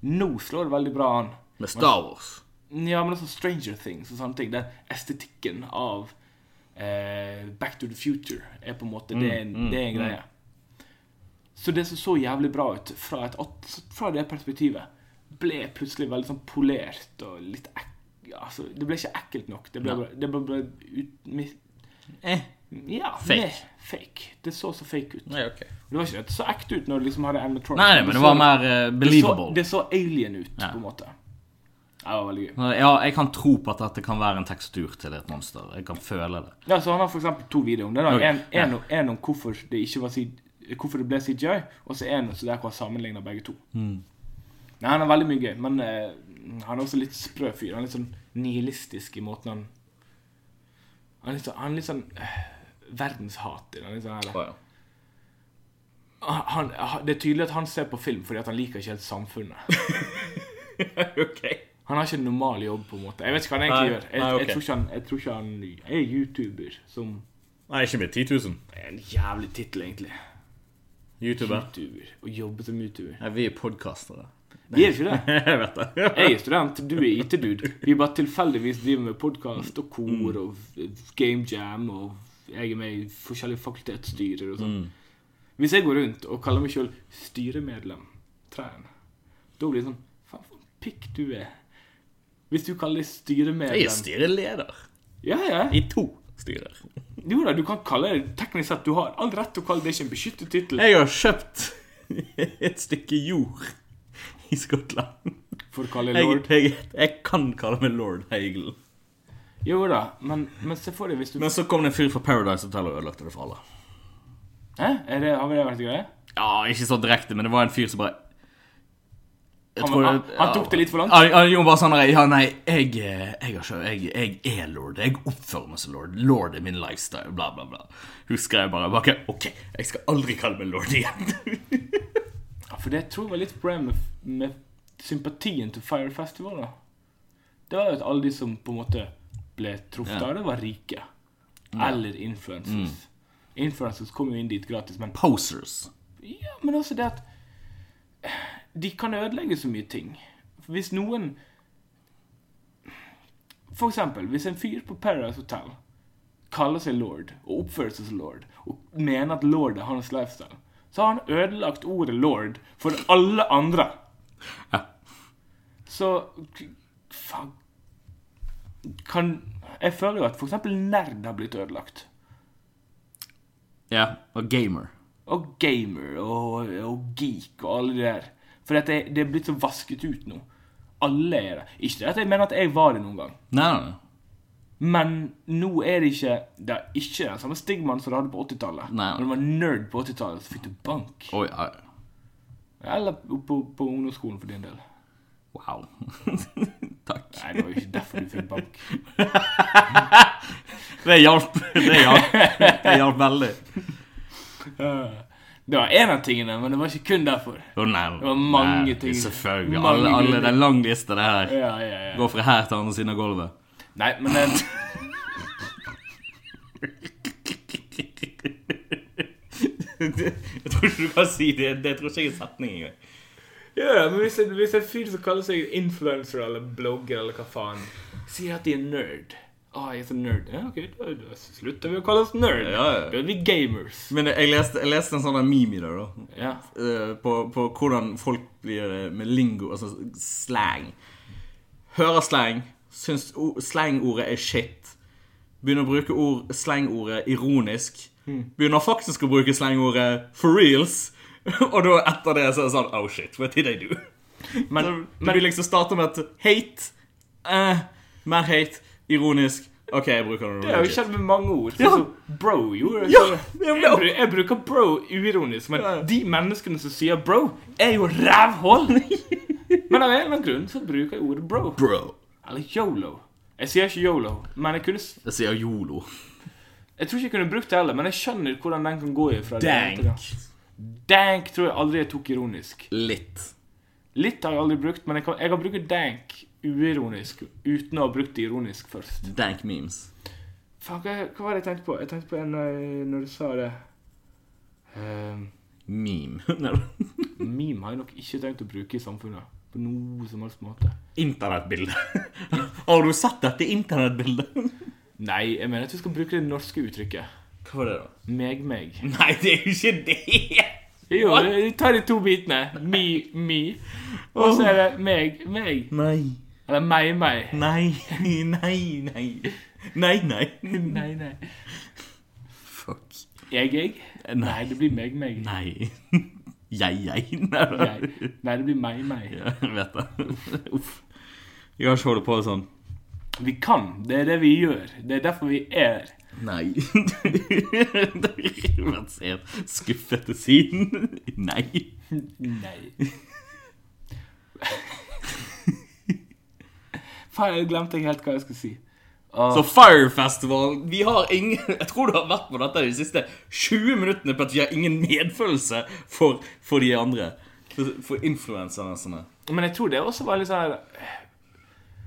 B: Nå slår det veldig bra an.
A: Med Star Wars.
B: Ja, men også Stranger Things og sånne ting. Den estetikken av eh, Back to the Future er på en måte det, er en-
A: Mm,
B: det er en greie. Så det som så jævlig bra ut fra, et, at- fra det perspektivet, ble plutselig veldig sånn polert og litt ek, ja, altså, Det ble ikke ekkelt nok. Det ble,
A: Nei.
B: bare- det ble, bare ut, mi-
A: Eh.
B: ja,
A: Fake.
B: meh, fake. Det så så fake ut.
A: Nei, ok.
B: Det var ikke det så ekte ut når du liksom hadde animatronic.
A: Nei, men det var mer eh, believable.
B: Det så, det så alien ut,
A: Ja.
B: på en måte. Det var veldig gøy.
A: Ja, jeg kan tro på at dette kan være en tekstur til et monster. Jeg kan føle det.
B: Ja, så Han har for eksempel to videoer om det. da
A: Ok,
B: En, en, om- en om hvorfor det ikke var C- Hvorfor det ble CGI, og så en så der hvor han sammenligner begge to.
A: Mm.
B: Nei, Han er veldig mye gøy, men eh, han er også litt sprø fyr. Han er litt sånn nihilistisk i måten han Han er litt sånn, han er litt sånn eh, verdenshater. Han er litt sånn her,
A: ja.
B: han, han, ah, det er tydelig at han ser på film fordi at han liker ikke helt samfunnet.
A: ok.
B: Han har ikke en normal jobb, på en måte. Jeg vet ikke hva han egentlig
A: Nei,
B: gjør. Jeg,
A: nei, ok.
B: jeg, tror ikke han, jeg tror ikke han er YouTuber, som
A: Nei, ikke med 10 000.
B: er en jævlig tittel, egentlig.
A: YouTuber.
B: YouTuber. Og jobbe som YouTuber.
A: Nei, vi er podcastere.
B: Vi er ikke det.
A: Jeg vet det.
B: Jeg er student, du er IT-dude. Vi bare tilfeldigvis driver med podkast og
A: Mm.
B: kor og game jam, og jeg er med i forskjellige fakultetsstyrer og sånn.
A: Mm.
B: Hvis jeg går rundt og kaller meg sjøl styremedlem, træn, da blir det sånn Faen, for en pikk du er. Hvis du kaller
A: Jeg
B: deg
A: er
B: styremedlem
A: styreleder.
B: Ja, ja.
A: I to styrer.
B: Jo da, du kan kalle det teknisk sett Du har all rett til å kalle det ikke en beskyttet tittel
A: Jeg har kjøpt et stykke jord i Skottland.
B: for å kalle det
A: Jeg,
B: lord.
A: jeg, jeg kan kalle meg lord Hagel.
B: Jo da, men, men se for deg hvis du
A: Men så kom det en fyr fra Paradise Hotel og ødelagte det for alle.
B: Hæ? Er det, har vi det vært greie?
A: Ja, ikke så direkte, men det var en fyr som bare Jeg
B: Han-
A: tror-
B: han- han tok det litt for langt?
A: Ja, han gjorde bare sånn der, Ja, nei, jeg, eh, jeg, har ikke, jeg, jeg er lord. Jeg oppfører meg som lord. Lord er min lifestyle. Bla, bla, bla. Husker jeg bare bare, ok, OK, jeg skal aldri kalle meg lord igjen.
B: Ja, for det tror jeg var litt problemet med, med sympatien til Fire Festival. da. Det var jo at alle de som på en måte ble truffet av det, var rike. Eller influencers. Influencers kom jo inn dit gratis, men
A: Posers.
B: Ja, men også det at de kan ødelegge så mye ting. Hvis noen For eksempel, hvis en fyr på Paradise Hotel kaller seg lord og oppfører seg som lord og mener at lord er hans lifestyle, så har han ødelagt ordet lord for alle andre.
A: Ja.
B: Så k- faen kan, Jeg føler jo at f.eks. nerd har blitt ødelagt.
A: ja. Og gamer.
B: og gamer og, og geek og alle de der. For at det, det er blitt så vasket ut nå. Alle er det. Ikke det at jeg mener at jeg var det noen gang,
A: Nei, nei, nei.
B: men nå er det ikke Det er ikke den samme stigmaen som det hadde på 80-tallet.
A: Nei.
B: Når du var nerd på 80-tallet, så fikk du bank.
A: Oi, ja. ja.
B: Eller på, på ungdomsskolen, for din del.
A: Wow. Takk.
B: Nei, det var jo ikke derfor du fikk bank.
A: Det hjalp. Det hjalp, det hjalp veldig.
B: Det var én av tingene, men det var ikke kun derfor.
A: Å, nei.
B: Det var mange
A: nei,
B: ting.
A: Selvfølgelig.
B: Mange
A: alle, alle,
B: grunner.
A: det er en lang liste, det her.
B: Ja, ja, ja.
A: Går fra her til andre siden av gulvet.
B: Nei, men eh, det,
A: Jeg tror ikke du kan si det. Det tror ikke jeg er setning engang.
B: Ja, men hvis en, hvis en fyr som kaller seg influencer eller blogger eller hva faen, sier at de er nerd Å, jeg er så nerd. Ja, ok, da, da slutter vi å kalle oss nerd.
A: Ja, ja.
B: Da er vi gamers.
A: Men jeg leste, jeg leste en sånn der meme i dag, da.
B: Ja.
A: Eh, På, på hvordan folk blir eh, med lingo, altså slang. Hører slang, syns o- slangordet er shit. Begynner å bruke ord, slangordet ironisk. Begynner faktisk å bruke slangordet for reals. Og da etter det så er det sånn Oh shit, what did I do?
B: Men,
A: Så du
B: men,
A: vil liksom starte med et hate. Eh, mer hate. Ironisk. OK, jeg bruker det.
B: det har jo skjedd med mange ord.
A: Ja.
B: Sånn som bro gjorde det.
A: Ja,
B: Så
A: ja, men-
B: jeg, bru- jeg bruker bro uironisk, men
A: Ja, ja.
B: de menneskene som sier bro, er jo rævhål. men av en eller annen grunn så bruker jeg ordet bro.
A: Bro.
B: Eller yolo. Jeg sier ikke yolo, men jeg kunne s-
A: Jeg sier yolo.
B: Jeg tror ikke jeg kunne brukt det heller, men jeg skjønner hvordan den kan gå ifra. det ene til det
D: Dank.
B: andre. Dank tror jeg aldri jeg tok ironisk.
A: Litt.
B: Litt har jeg aldri brukt, men jeg kan, jeg kan bruke dank uironisk uten å ha brukt det ironisk først.
A: Dank memes.
B: Faen, hva, hva var det jeg tenkte på? Jeg tenkte på en eh, når du sa det. Ehm,
A: Meme. Nei, da.
B: meme har jeg nok ikke tenkt å bruke i samfunnet. På noe som helst måte.
A: Internettbilde. Har du sett dette internettbildet?
B: Nei, jeg mener at vi skal bruke det norske uttrykket.
A: Hva var det, da?
B: Meg, meg.
A: Nei, det er jo ikke det!
B: Jo, vi tar de to bitene. Me, me. Og så er det meg, meg.
A: Nei.
B: Eller meg, meg.
A: Nei. Nei, nei. Nei, nei.
B: Nei, nei.
A: Fuck.
B: Jeg, jeg? Nei, det blir meg, meg.
A: Nei. Jeg, jeg. Nei, da.
B: Jeg. Nei, det blir meg, meg.
A: Ja, jeg vet det. Uff. Jeg kan ikke holde på sånn.
B: Vi kan. Det er det vi gjør. Det er derfor vi er.
A: Nei. det har vært sent skuffet til siden. Nei.
B: Nei. Faen, jeg glemte helt hva jeg skulle si.
A: Så Fire Festival Vi har ingen Jeg tror du har vært på dette de siste 20 minuttene på at vi har ingen medfølelse for, for de andre. For, for influenserne og sånne.
B: Men jeg tror det også var litt sånn her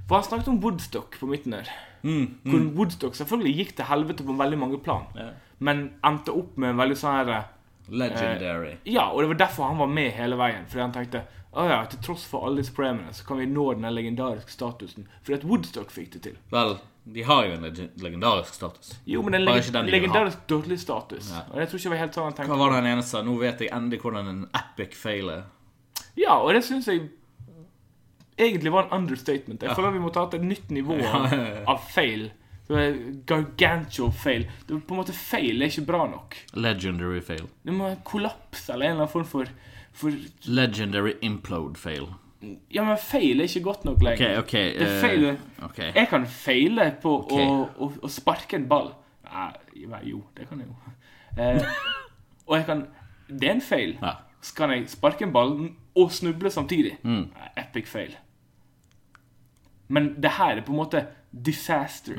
B: For han snakket om Woodstock på midten der. Hvor Woodstock selvfølgelig gikk til helvete på veldig mange plan.
A: Ja.
B: Men endte opp med en veldig sånn her
A: Legendary.
B: Ja, og det var derfor han var med hele veien. Fordi han tenkte å ja, til tross for alle disse problemene, så kan vi nå den legendariske statusen. Fordi at Woodstock fikk det til.
A: Vel, de har jo en lege- legendarisk status.
B: Jo, men en
A: Bare
B: leg
A: ikke den de vil ha.
B: legendarisk dårlig status. Og jeg tror ikke det var helt sånn han
A: Hva
B: tenkte.
A: var det han ene sa? Nå vet jeg endelig hvordan en epic fail er.
B: Ja, og det syns jeg egentlig var en understatement. Jeg føler vi må ta til et nytt nivå av feil. Det var Gargantual fail. Det var på en måte Feil er ikke bra nok.
A: Legendary fail.
B: Det må kollapse eller en eller annen form for, for
A: Legendary implode fail.
B: Ja, men feil er ikke godt nok lenger.
A: OK, OK.
B: Det Eh. er feil.
A: eh,
B: Jeg kan feile på å, å, å sparke en ball. Nei, nei, jo, det kan jeg jo. Eh, og jeg kan Det er en feil.
A: Ja.
B: Så kan jeg sparke en ball og snuble samtidig. Nei, Epic feil. Men det her er på en måte disaster.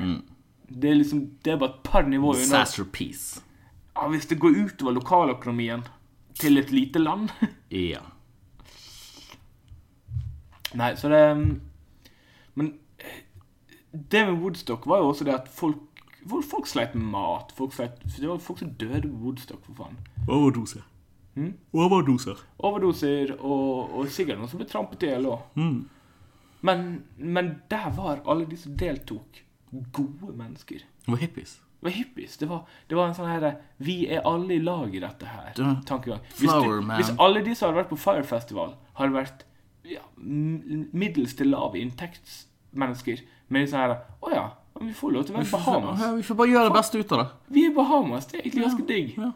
B: Det er liksom, det er bare et par nivåer unna.
A: Disaster piece.
B: Ja, hvis det går utover lokaløkonomien til et lite land
A: Ja.
B: Nei, så det mm, Men eh, det med Woodstock var jo også det at folk Folk, folk sleit med mat. Folk sleit, det var folk som døde på Woodstock, for faen.
A: Overdose.
B: Hmm?
D: Overdoser.
B: Overdoser og, og sikkert noen som ble trampet i hjel òg. Mm. Men, men der var alle de som deltok, gode mennesker.
A: Det var hippies.
B: Det var hippies. Det var, det var en sånn her Vi er alle i lag i dette her.
A: Du-
B: Tankegang. Hvis,
A: Flower Man.
B: hvis alle de som hadde vært på Fire Festival, hadde vært ja, m- middels til lave inntektsmennesker med sånn her Å ja, men vi får lov til å være i Bahamas.
A: Ja, vi får bare gjøre det beste ut av det.
B: Vi er i Bahamas. Det er egentlig ganske digg.
A: ja.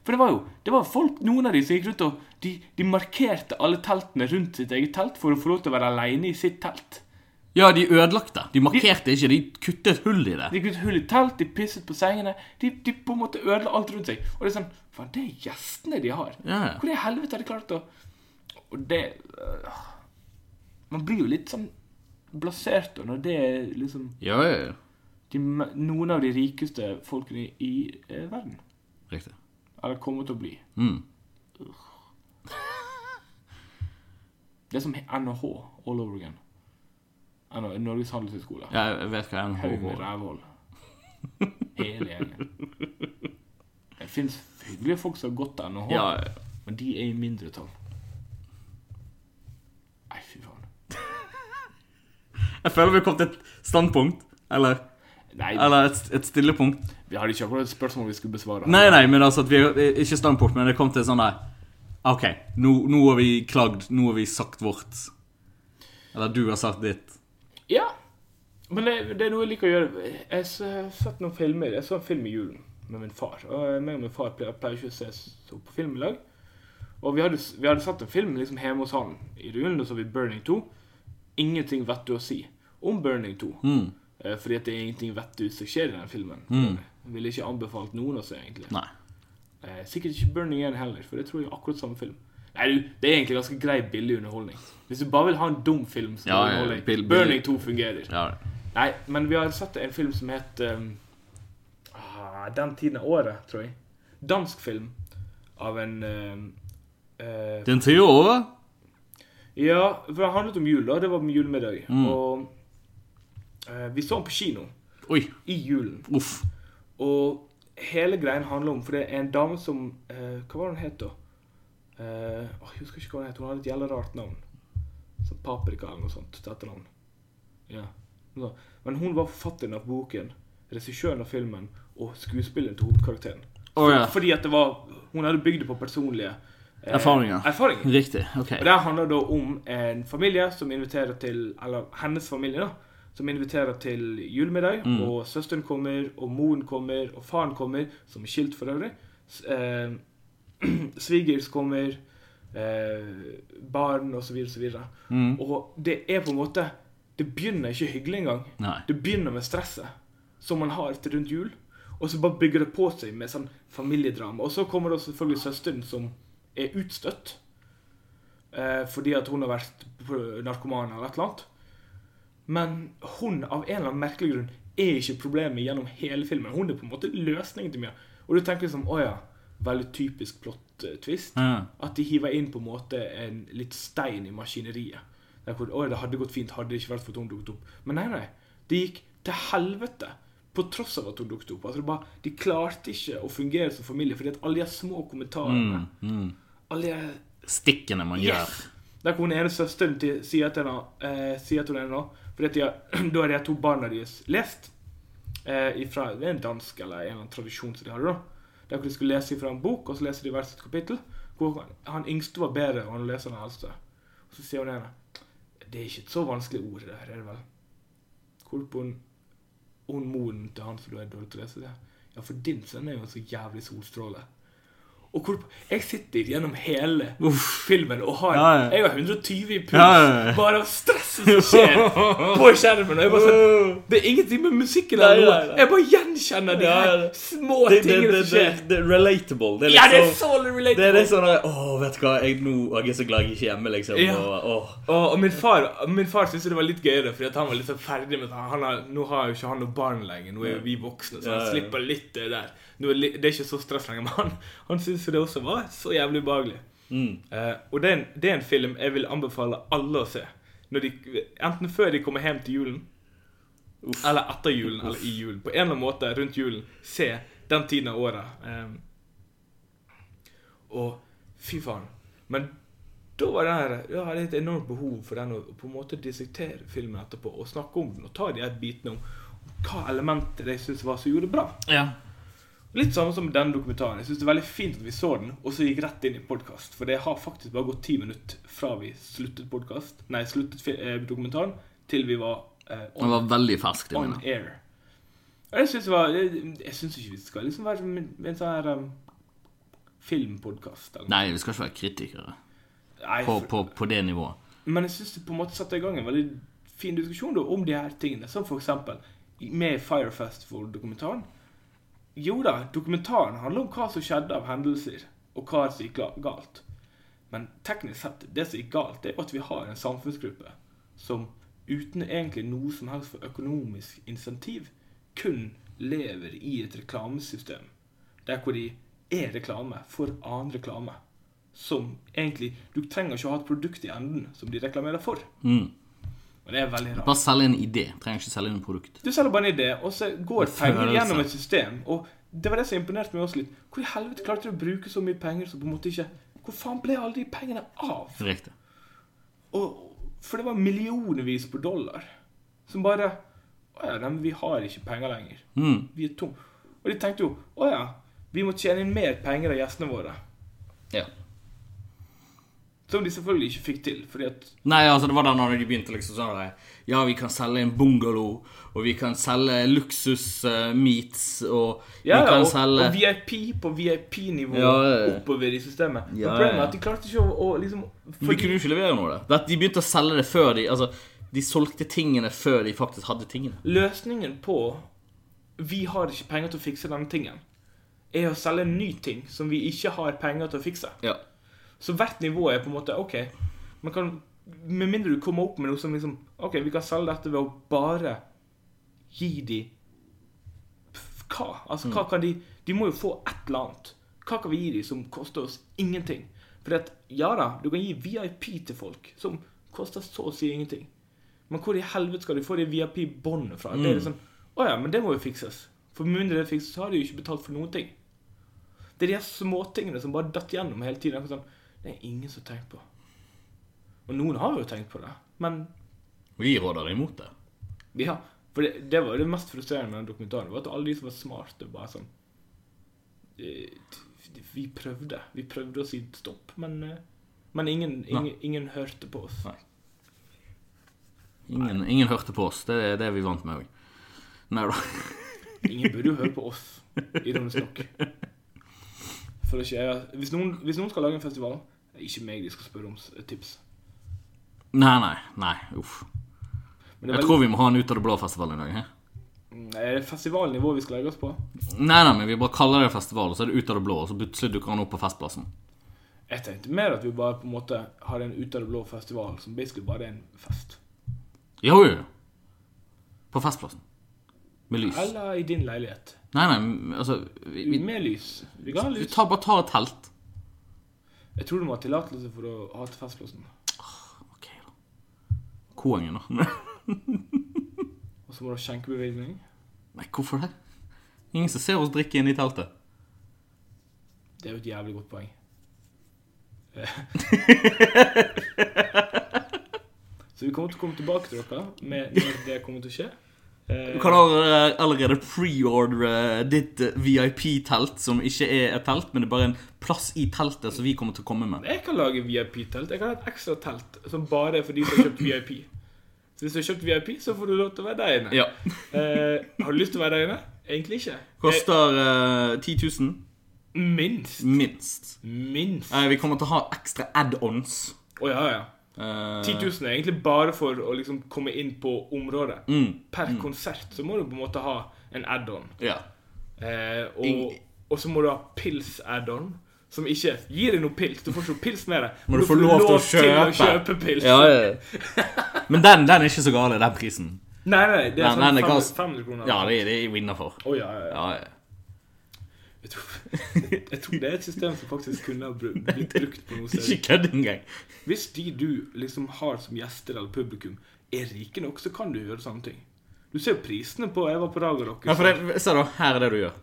B: For det var jo det var folk, noen av de som gikk rundt og de, de markerte alle teltene rundt sitt eget telt for å få lov til å være aleine i sitt telt.
A: Ja, de ødelagte. De markerte ikke, de kuttet hull i det.
B: De gikk ut hull i telt, de pisset på sengene. De, de på en måte ødela alt rundt seg. Og det er sånn Faen, det er gjestene de har.
A: Ja, ja.
B: Hvor i helvete har de klart å Og det øh, Man blir jo litt sånn blasert da, når det er liksom
A: Ja, ja, ja.
B: de, me- noen av de rikeste folkene i eh, verden.
A: Riktig.
B: Eller kommer til å bli.
A: Mm.
B: Det er som NHH all over again. NH Norges handelshøyskole.
A: Ja, jeg vet hva NHH
B: Haug med rævhold. Hele gjengen. Det fins hyggelige folk som har gått til NHH,
A: Ja, ja.
B: men de er i mindretall. Nei, fy faen.
A: Jeg føler vi har kommet til et standpunkt. Eller,
B: Nei,
A: eller et, et stillepunkt.
B: vi hadde ikke akkurat et spørsmål vi skulle besvare.
A: Nei, nei, men altså at vi Ikke standpunkt, men det kom til sånn der OK, nå, nå har vi klagd. Nå har vi sagt vårt. Eller du har sagt ditt.
B: Ja, men det, det er noe jeg liker å gjøre. Jeg s- har sett noen filmer. Jeg så en film i julen med min far. Og meg og min far pleier, pleier ikke å se så på film i lag. Og vi hadde, s- vi hadde satt en film liksom hjemme hos han i julen, og så vi Burning 2. Ingenting vet du å si om Burning 2.
A: Mm.
B: Eh, Fordi at det er ingenting vet du som skjer i den filmen. Jeg ville ikke anbefalt noen å se, egentlig.
A: Nei.
B: Eh, sikkert ikke Burning 1 heller, for det tror jeg er akkurat samme film. Nei, du, Det er egentlig ganske grei, billig underholdning. Hvis du bare vil ha en dum film, så
A: Ja, ja,
B: underholder jeg.
A: bill- billig.
B: Burning 2 fungerer.
A: Ja.
B: Nei, men vi har sett en film som het um, ah, Den tiden av året, tror jeg. Dansk film av en um, eh,
A: Den tida er over.
B: Ja, for det handlet om jul, da. Det var med julemiddag. Og eh, vi så den på kino
A: Oi.
B: i julen.
A: Uff.
B: Og hele greien handler om For det er en dame som eh, Hva var det hun het, da? Eh, åh, jeg husker ikke hva hun het. Hun hadde et jævla rart navn. Sånn Paprika eller noe sånt. til etternavn. Ja. Noe sånt. Men hun var forfatteren av boken, regissøren av filmen og skuespilleren til hovedkarakteren.
A: Å ja.
B: Fordi at det var Hun hadde bygd det på personlige eh,
A: Erfaringer.
B: erfaringer.
A: Riktig. OK.
B: Og Det handler da om en familie som inviterer til Eller hennes familie, da. Som inviterer til julemiddag. Og søsteren kommer, og moren kommer, og faren kommer, som er skilt for øvrig. S- Eh, Svigers kommer, eh, barn osv. videre, og så videre. Og det er på en måte Det begynner ikke hyggelig engang.
A: Nei.
B: Det begynner med stresset som man har til rundt jul, og så bare bygger det på seg med sånn familiedrama. Og så kommer da selvfølgelig søsteren som er utstøtt. Eh, fordi at hun har vært p- narkoman eller et eller annet. Men hun, av en eller annen merkelig grunn, er ikke problemet gjennom hele filmen. Hun er på en måte løsningen til mye. Og du tenker liksom, åja, veldig typisk plot eh, twist.
A: Ja.
B: At de hiver inn på en måte en litt stein i maskineriet. Der hvor, åja, det hadde gått fint, hadde det ikke vært for at hun dukket opp. Men nei, nei, det gikk til helvete. På tross av at hun dukket opp. Altså, det bare, de klarte ikke å fungere som familie, fordi at alle de her små
A: Mm.
B: kommentarene, alle de her
A: Stikkene man gjør.
B: Yes. Der hvor hun ene søsteren til, sier, til henne, eh, sier til henne nå For da har de her to barna deres lest eh, ifra, Det er en dansk eller en eller annen tradisjon som de hadde da. Der hvor de skulle lese ifra en bok, og så leser de hvert sitt kapittel. Hvor han- han yngste var bedre, og han leser den eldste. Og så sier hun ene Det er ikke et så vanskelig ord, det her, er det vel? Hvorpå hun, hun moren til han som du er dårlig til å lese, sier Ja, for din sønn er jo en så jævlig solstråle. Og hvor, jeg sitter gjennom hele filmen og har
A: Ja, ja.
B: Jeg har 120 i puls
A: Ja, ja, ja.
B: bare av stresset som skjer på skjermen. Og jeg bare sånn, det er ingenting med musikken eller
A: Nei,
B: noe.
A: nei, nei.
B: Jeg bare gjenkjenner de
A: Ja,
B: her
A: ja, det-
B: små tingene som skjer.
A: det er relatable. Det er liksom-
B: Ja, det er så relatable.
A: Det er litt sånn der, Åh, vet du hva, jeg, nå er jeg så glad jeg ikke er hjemme, liksom.
B: Ja.
A: Og, åh.
B: Og, og min far, min far syntes det var litt gøyere, fordi at han var litt sånn ferdig med at han har, Nå har jo ikke han noe barn lenger, nå er jo vi voksne, så
A: Ja,
B: han
A: ja.
B: slipper litt det der. Nå er li, det er ikke så stress lenger, men han, han syntes jo det også var så jævlig ubehagelig.
A: Mm.
B: Eh, og det er, en, det er en film jeg vil anbefale alle å se. Når de, enten før de kommer hjem til julen, eller etter julen, eller i julen. På en eller annen måte rundt julen. Se den tiden av året. Eh, og Fy faen. Men da var den her, jeg hadde et enormt behov for den å på en måte dissektere filmen etterpå og snakke om den og ta de her bitene om hva elementer jeg syntes var som gjorde det bra.
D: Ja.
B: Litt samme som den dokumentaren. Jeg synes det er veldig fint at vi så den, og så gikk rett inn i podkast. For det har faktisk bare gått ti minutter fra vi sluttet podcast, nei, sluttet fi- eh, dokumentaren, til vi var eh,
A: Den
B: on,
A: var veldig fersk. det
B: on
A: minnet.
B: air. Og jeg synes det var Jeg, jeg synes ikke vi skal liksom være som en, en sånn her um, filmpodkast. eller noe.
A: Nei, vi skal ikke være kritikere
B: Nei,
A: på,
B: for-
A: på, på det nivået.
B: Men jeg syns det på en måte satte i gang en veldig fin diskusjon da, om de her tingene. Som for eksempel med Fire Festival-dokumentaren. Jo da, dokumentaren handler om hva som skjedde av hendelser, og hva som gikk ga- galt. Men teknisk sett, det som gikk galt, det er at vi har en samfunnsgruppe som uten egentlig noe som helst for økonomisk insentiv, kun lever i et reklamesystem. Der hvor de er reklame for annen reklame. Som egentlig Du trenger ikke å ha et produkt i enden som de reklamerer for. Og det er veldig rart.
A: Mm. Bare selge en idé. Trenger ikke selge inn et produkt.
B: Du selger bare en idé, og så går penger
A: følelse.
B: gjennom et system. Og det var det som imponerte meg også litt. Hvor i helvete klarte du å bruke så mye penger som på en måte ikke Hvor faen ble alle de pengene av?
A: Riktig.
B: Og, for det var millionervis på dollar. Som bare Å ja, nei, men vi har ikke penger lenger.
A: Mm.
B: Vi er tom. Og de tenkte jo Å ja, vi må tjene inn mer penger av gjestene våre.
A: Ja.
B: Som de selvfølgelig ikke fikk til. Fordi at
A: Nei, altså det var da når de begynte liksom sånn der, Ja, vi kan selge en bungalow, og vi kan selge luksus-meats, og
B: Ja,
A: vi
B: ja,
A: kan
B: og,
A: selge
B: og VIP på VIP-nivå
A: Ja, ja, ja.
B: oppover i systemet.
A: Ja,
B: Men problemet
A: ja.
B: er at de klarte ikke å, å liksom
A: Vi kunne jo ikke levere noe av det. De begynte å selge det før de Altså, de solgte tingene før de faktisk hadde tingene.
B: Løsningen på Vi har ikke penger til å fikse denne tingen Er å selge en ny ting Som vi ikke har penger til å fikse
A: Ja.
B: Så hvert nivå er på en måte Ok, man kan Med mindre du kommer opp med noe som liksom Ok, vi kan selge dette ved å bare Gi de Pff, Hva? Altså, hva kan de De må jo få et eller annet Hva kan vi gi de som koster oss ingenting? For at, ja da, du kan gi VIP til folk Som koster så å si ingenting men hvor i helvete skal de få de VIP-båndene fra? Det er liksom, Å ja, men det må jo fikses. For med mindre det fikses, så har de jo ikke betalt for noen ting. Det er de her småtingene som bare datt gjennom hele tiden. akkurat Sånn, det er ingen som har tenkt på. Og noen har jo tenkt på det, men
A: Vi råder imot det.
B: ja. For det, det var jo det mest frustrerende med den dokumentaren, var at alle de som var smarte, bare sånn eh, Vi prøvde. Vi prøvde å si stopp, men, eh, men ingen, ingen, ingen hørte på oss.
A: Nei. Ingen, ingen hørte på oss. Det er det vi vant med òg. Nei da.
B: Ingen burde jo høre på oss, ironisk nok. For ikke jeg, hvis, noen, hvis noen skal lage en festival, det er ikke meg de skal spørre om s- tips.
A: Nei, nei. nei, Uff.
B: Men det
A: Jeg
B: er,
A: tror vi må ha en Ut av det blå-festival en dag. He?
B: veldig, er det festivalnivå vi skal legge oss på?
A: Nei, nei, men vi bare kaller det festival, og så er det Ut av det blå, og så plutselig dukker han opp på Festplassen.
B: Jeg tenkte mer at vi bare på en måte har en ut av det blå festival som basically bare er en fest.
A: Jo, jo, jo. På Festplassen. Med lys.
B: Eller i din leilighet.
A: Nei, nei, men, altså vi, vi,
B: Med lys. Vi kan ha
A: vi
B: lys.
A: tar, bare tar et telt.
B: Jeg tror du må ha tillatelse for å ha til festplassen.
A: Ok, da. Koengen, da.
B: Og så må du ha skjenkebevilgning.
A: Nei, hvorfor det? Ingen som ser oss drikke inne i teltet.
B: Det er jo et jævlig godt poeng. Eh. Så vi kommer til å komme tilbake til dere med når det kommer til å skje. Eh,
A: Du kan allerede, allerede preordre ditt eh, VIP-telt, som ikke er et telt, men det er bare en plass i teltet som vi kommer til å komme med.
B: Eh, Jeg kan lage VIP-telt. Jeg kan ha et ekstra telt som bare er for de som har kjøpt VIP. Så hvis du har kjøpt VIP, så får du lov til å være der inne.
A: Ja.
B: Eh, har du lyst til å være der inne? Egentlig ikke.
A: Koster eh, 10 000,
B: Eh, minst.
A: minst.
B: Minst. Å
A: Eh, vi kommer til å ha ekstra add-ons.
B: ja, ja.
A: Eh,
B: 10 000 er egentlig bare for å liksom komme inn på området.
A: Mm.
B: Per konsert så må du på en måte ha en add-on.
A: Ja.
B: Eh, og,
A: Ing-
B: og så må du ha pils-add-on, som ikke gir deg noe pils. Du får ikke noe pils med det.
A: Må
B: men
A: du få
B: får
A: lov til å
B: å
A: kjøpe.
B: kjøpe pils.
A: Ja, ja, ja. Men den, den er ikke så gal, den prisen.
B: Nei, nei, det er
A: Nei, nei,
B: sånn
A: det kan-
B: 500 500 kroner.
A: Ja, det, er- det er vi innafor.
B: Å, ja, ja, ja.
A: Ja, ja.
B: Jeg, tror, jeg tror det er et system som faktisk kunne ha bru- blitt brukt på noe
A: Det er
B: sted.
A: ikke kødd engang.
B: Hvis de du liksom har som gjester eller publikum, er rike nok, så kan du gjøre sånne ting. Du ser jo prisene på Jeg var på Raga-rock.
A: Ja, for det, se da, her er det du gjør.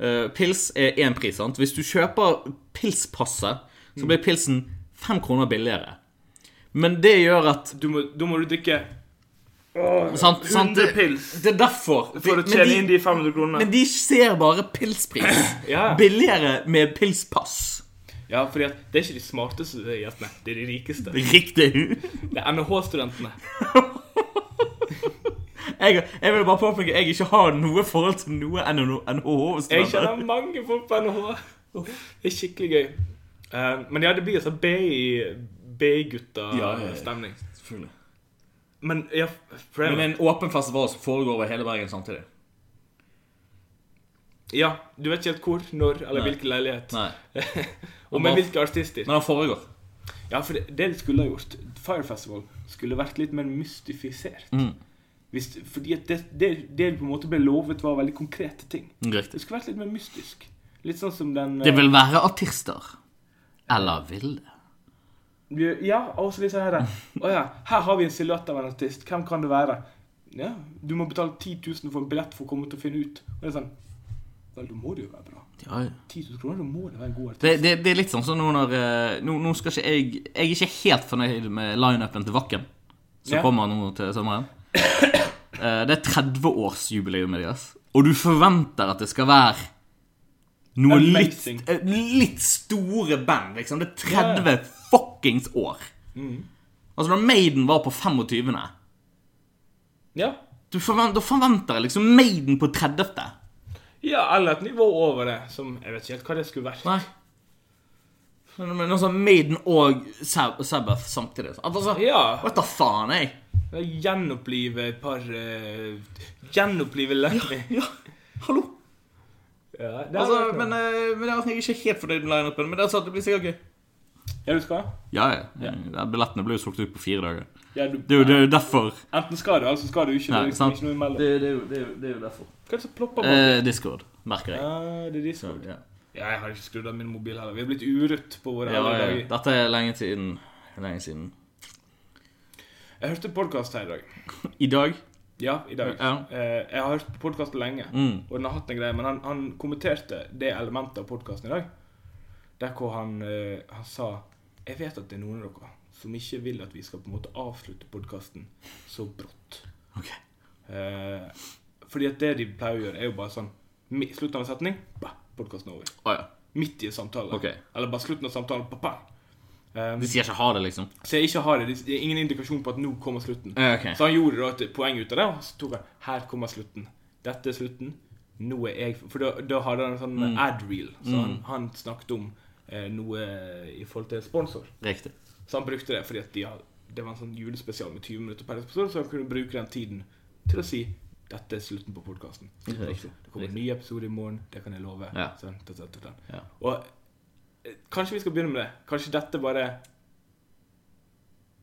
A: Eh, pils er én pris, sant. Hvis du kjøper pilspasset, så blir pilsen fem kroner billigere. Men det gjør at
B: Du må, da må du drikke
A: sant, sant, det,
B: 100 pils.
A: det er derfor.
B: for å
A: Men
B: tjene
A: de-
B: inn de 500 kronene.
A: Men de ser bare pilspris.
B: Ja.
A: Billigere med pilspass.
B: Ja, fordi at det er ikke de smarteste gjestene. Det er de rikeste.
A: Riktig.
B: Det er NHH-studentene.
A: Jeg, jeg vil bare påpeke at jeg ikke har noe forhold til noe
B: Jeg
A: NHH-studenter.
B: kjenner mange folk på NHH. Det er skikkelig gøy. Eh, men ja, det blir altså
A: Ja, ja, ja.
B: BI-gutta-stemning. Men ja,
A: Men det
B: forever.
A: er en åpen festival som foregår over hele Bergen samtidig.
B: Ja, du vet ikke helt hvor, når eller
A: Nei.
B: hvilken leilighet.
A: Nei.
B: Og med hvilke artister.
A: Men den foregår.
B: Ja, for det, det de skulle ha gjort Fire Festival skulle vært litt mer mystifisert.
A: Mm.
B: Hvis, fordi at det, det, det på en måte ble lovet, var veldig konkrete ting. Det
A: Riktig.
B: skulle vært litt mer mystisk. Litt sånn som den
A: Det vil være artister. Eller vil det?
B: eh, Ja, og så litt sånn her Å ja, her har vi en silhuett av en artist. Hvem kan det være? Ja, du må betale 10 000 for en billett for å komme ut og finne ut. Og det er sånn Vel, da må det jo være bra.
A: Ja, ja.
B: 10 000 kroner, da må det være en god artist.
A: Det, det, det er litt sånn som nå når eh, Nå, nå skal ikke jeg Jeg er ikke helt fornøyd med lineupen til Vakken, som
B: Ja.
A: kommer nå til sommeren. Eh, det er 30-årsjubileumet deres, og du forventer at det skal være noe litt,
B: Amazing.
A: eh, litt store band, liksom. Det er 30 fuckings år.
B: Mm.
A: Altså, når Maiden var på 25.
B: Ja.
A: Du forventer, da forventer jeg liksom Maiden på 30.
B: ja, eller et nivå over det, som Jeg vet ikke helt hva det skulle vært.
A: Nei. Men, men altså Maiden og Sab Sabbath samtidig. så- Altså,
B: Ja.
A: Vet da faen, jeg.
B: Gjenopplive et par eh, Gjenopplive Lemmy.
A: Ja, hallo.
B: Ja, det
A: Altså,
B: hadde vært noe.
A: men, eh, men altså, jeg er ikke helt fornøyd med lineupen, men det, altså, det blir sikkert gøy.
B: Ja, du skal?
A: Ja, ja. ja. Billettene ble jo solgt ut på fire dager.
B: Ja, du,
A: Det er jo, det er jo derfor.
B: Enten skal du, eller så skal du ikke.
A: Nei,
B: det er liksom
A: sant.
B: ikke noe imellom.
A: derfor.
B: Hva er det som plopper på?
A: Eh, Discord, merker jeg.
B: Ah, det er de som...
A: Ja.
B: Ja, jeg har ikke skrudd av min mobil heller. Vi har blitt urutt på våre
A: Ja,
B: eldre
A: ja,
B: dager.
A: Dette er lenge siden. Lenge siden.
B: Jeg hørte podkast her i dag.
A: I dag?
B: Ja, i dag.
A: Ja. Mm.
B: Eh, jeg har hørt på podkast lenge, og den har hatt en greie, men han, han kommenterte det elementet av podkasten i dag, der hvor han, eh, han sa Jeg vet at det er noen av dere som ikke vil at vi skal på en måte avslutte podkasten så brått.
A: Ok.
B: Eh, fordi at det de pleier å gjøre, er jo bare sånn mi- Slutten av en setning, podkasten er over.
A: Å ja.
B: Midt i en samtale.
A: Ok.
B: Eller bare slutten av samtalen. Ba, bang. Eh,
A: De sier ikke ha det, liksom?
B: så jeg ikke har det. Det er ingen indikasjon på at nå kommer slutten.
A: Eh, ok.
B: Så han gjorde da et poeng ut av det, og så tok han Her kommer slutten. Dette er slutten. Nå er jeg For da, da hadde han en sånn
A: Mm.
B: ad-reel. Så han, han snakket om eh, noe i forhold til sponsor.
A: Riktig.
B: Så han brukte det fordi at de har, det var en sånn julespesial med 20 minutter per episode, så han kunne bruke den tiden til å si dette er slutten på podkasten. Det
A: Riktig.
B: kommer en ny episode i morgen, det kan jeg love.
A: Ja.
B: Sånn, da, da, da, da.
A: Ja.
B: Og eh, kanskje vi skal begynne med det. Kanskje dette bare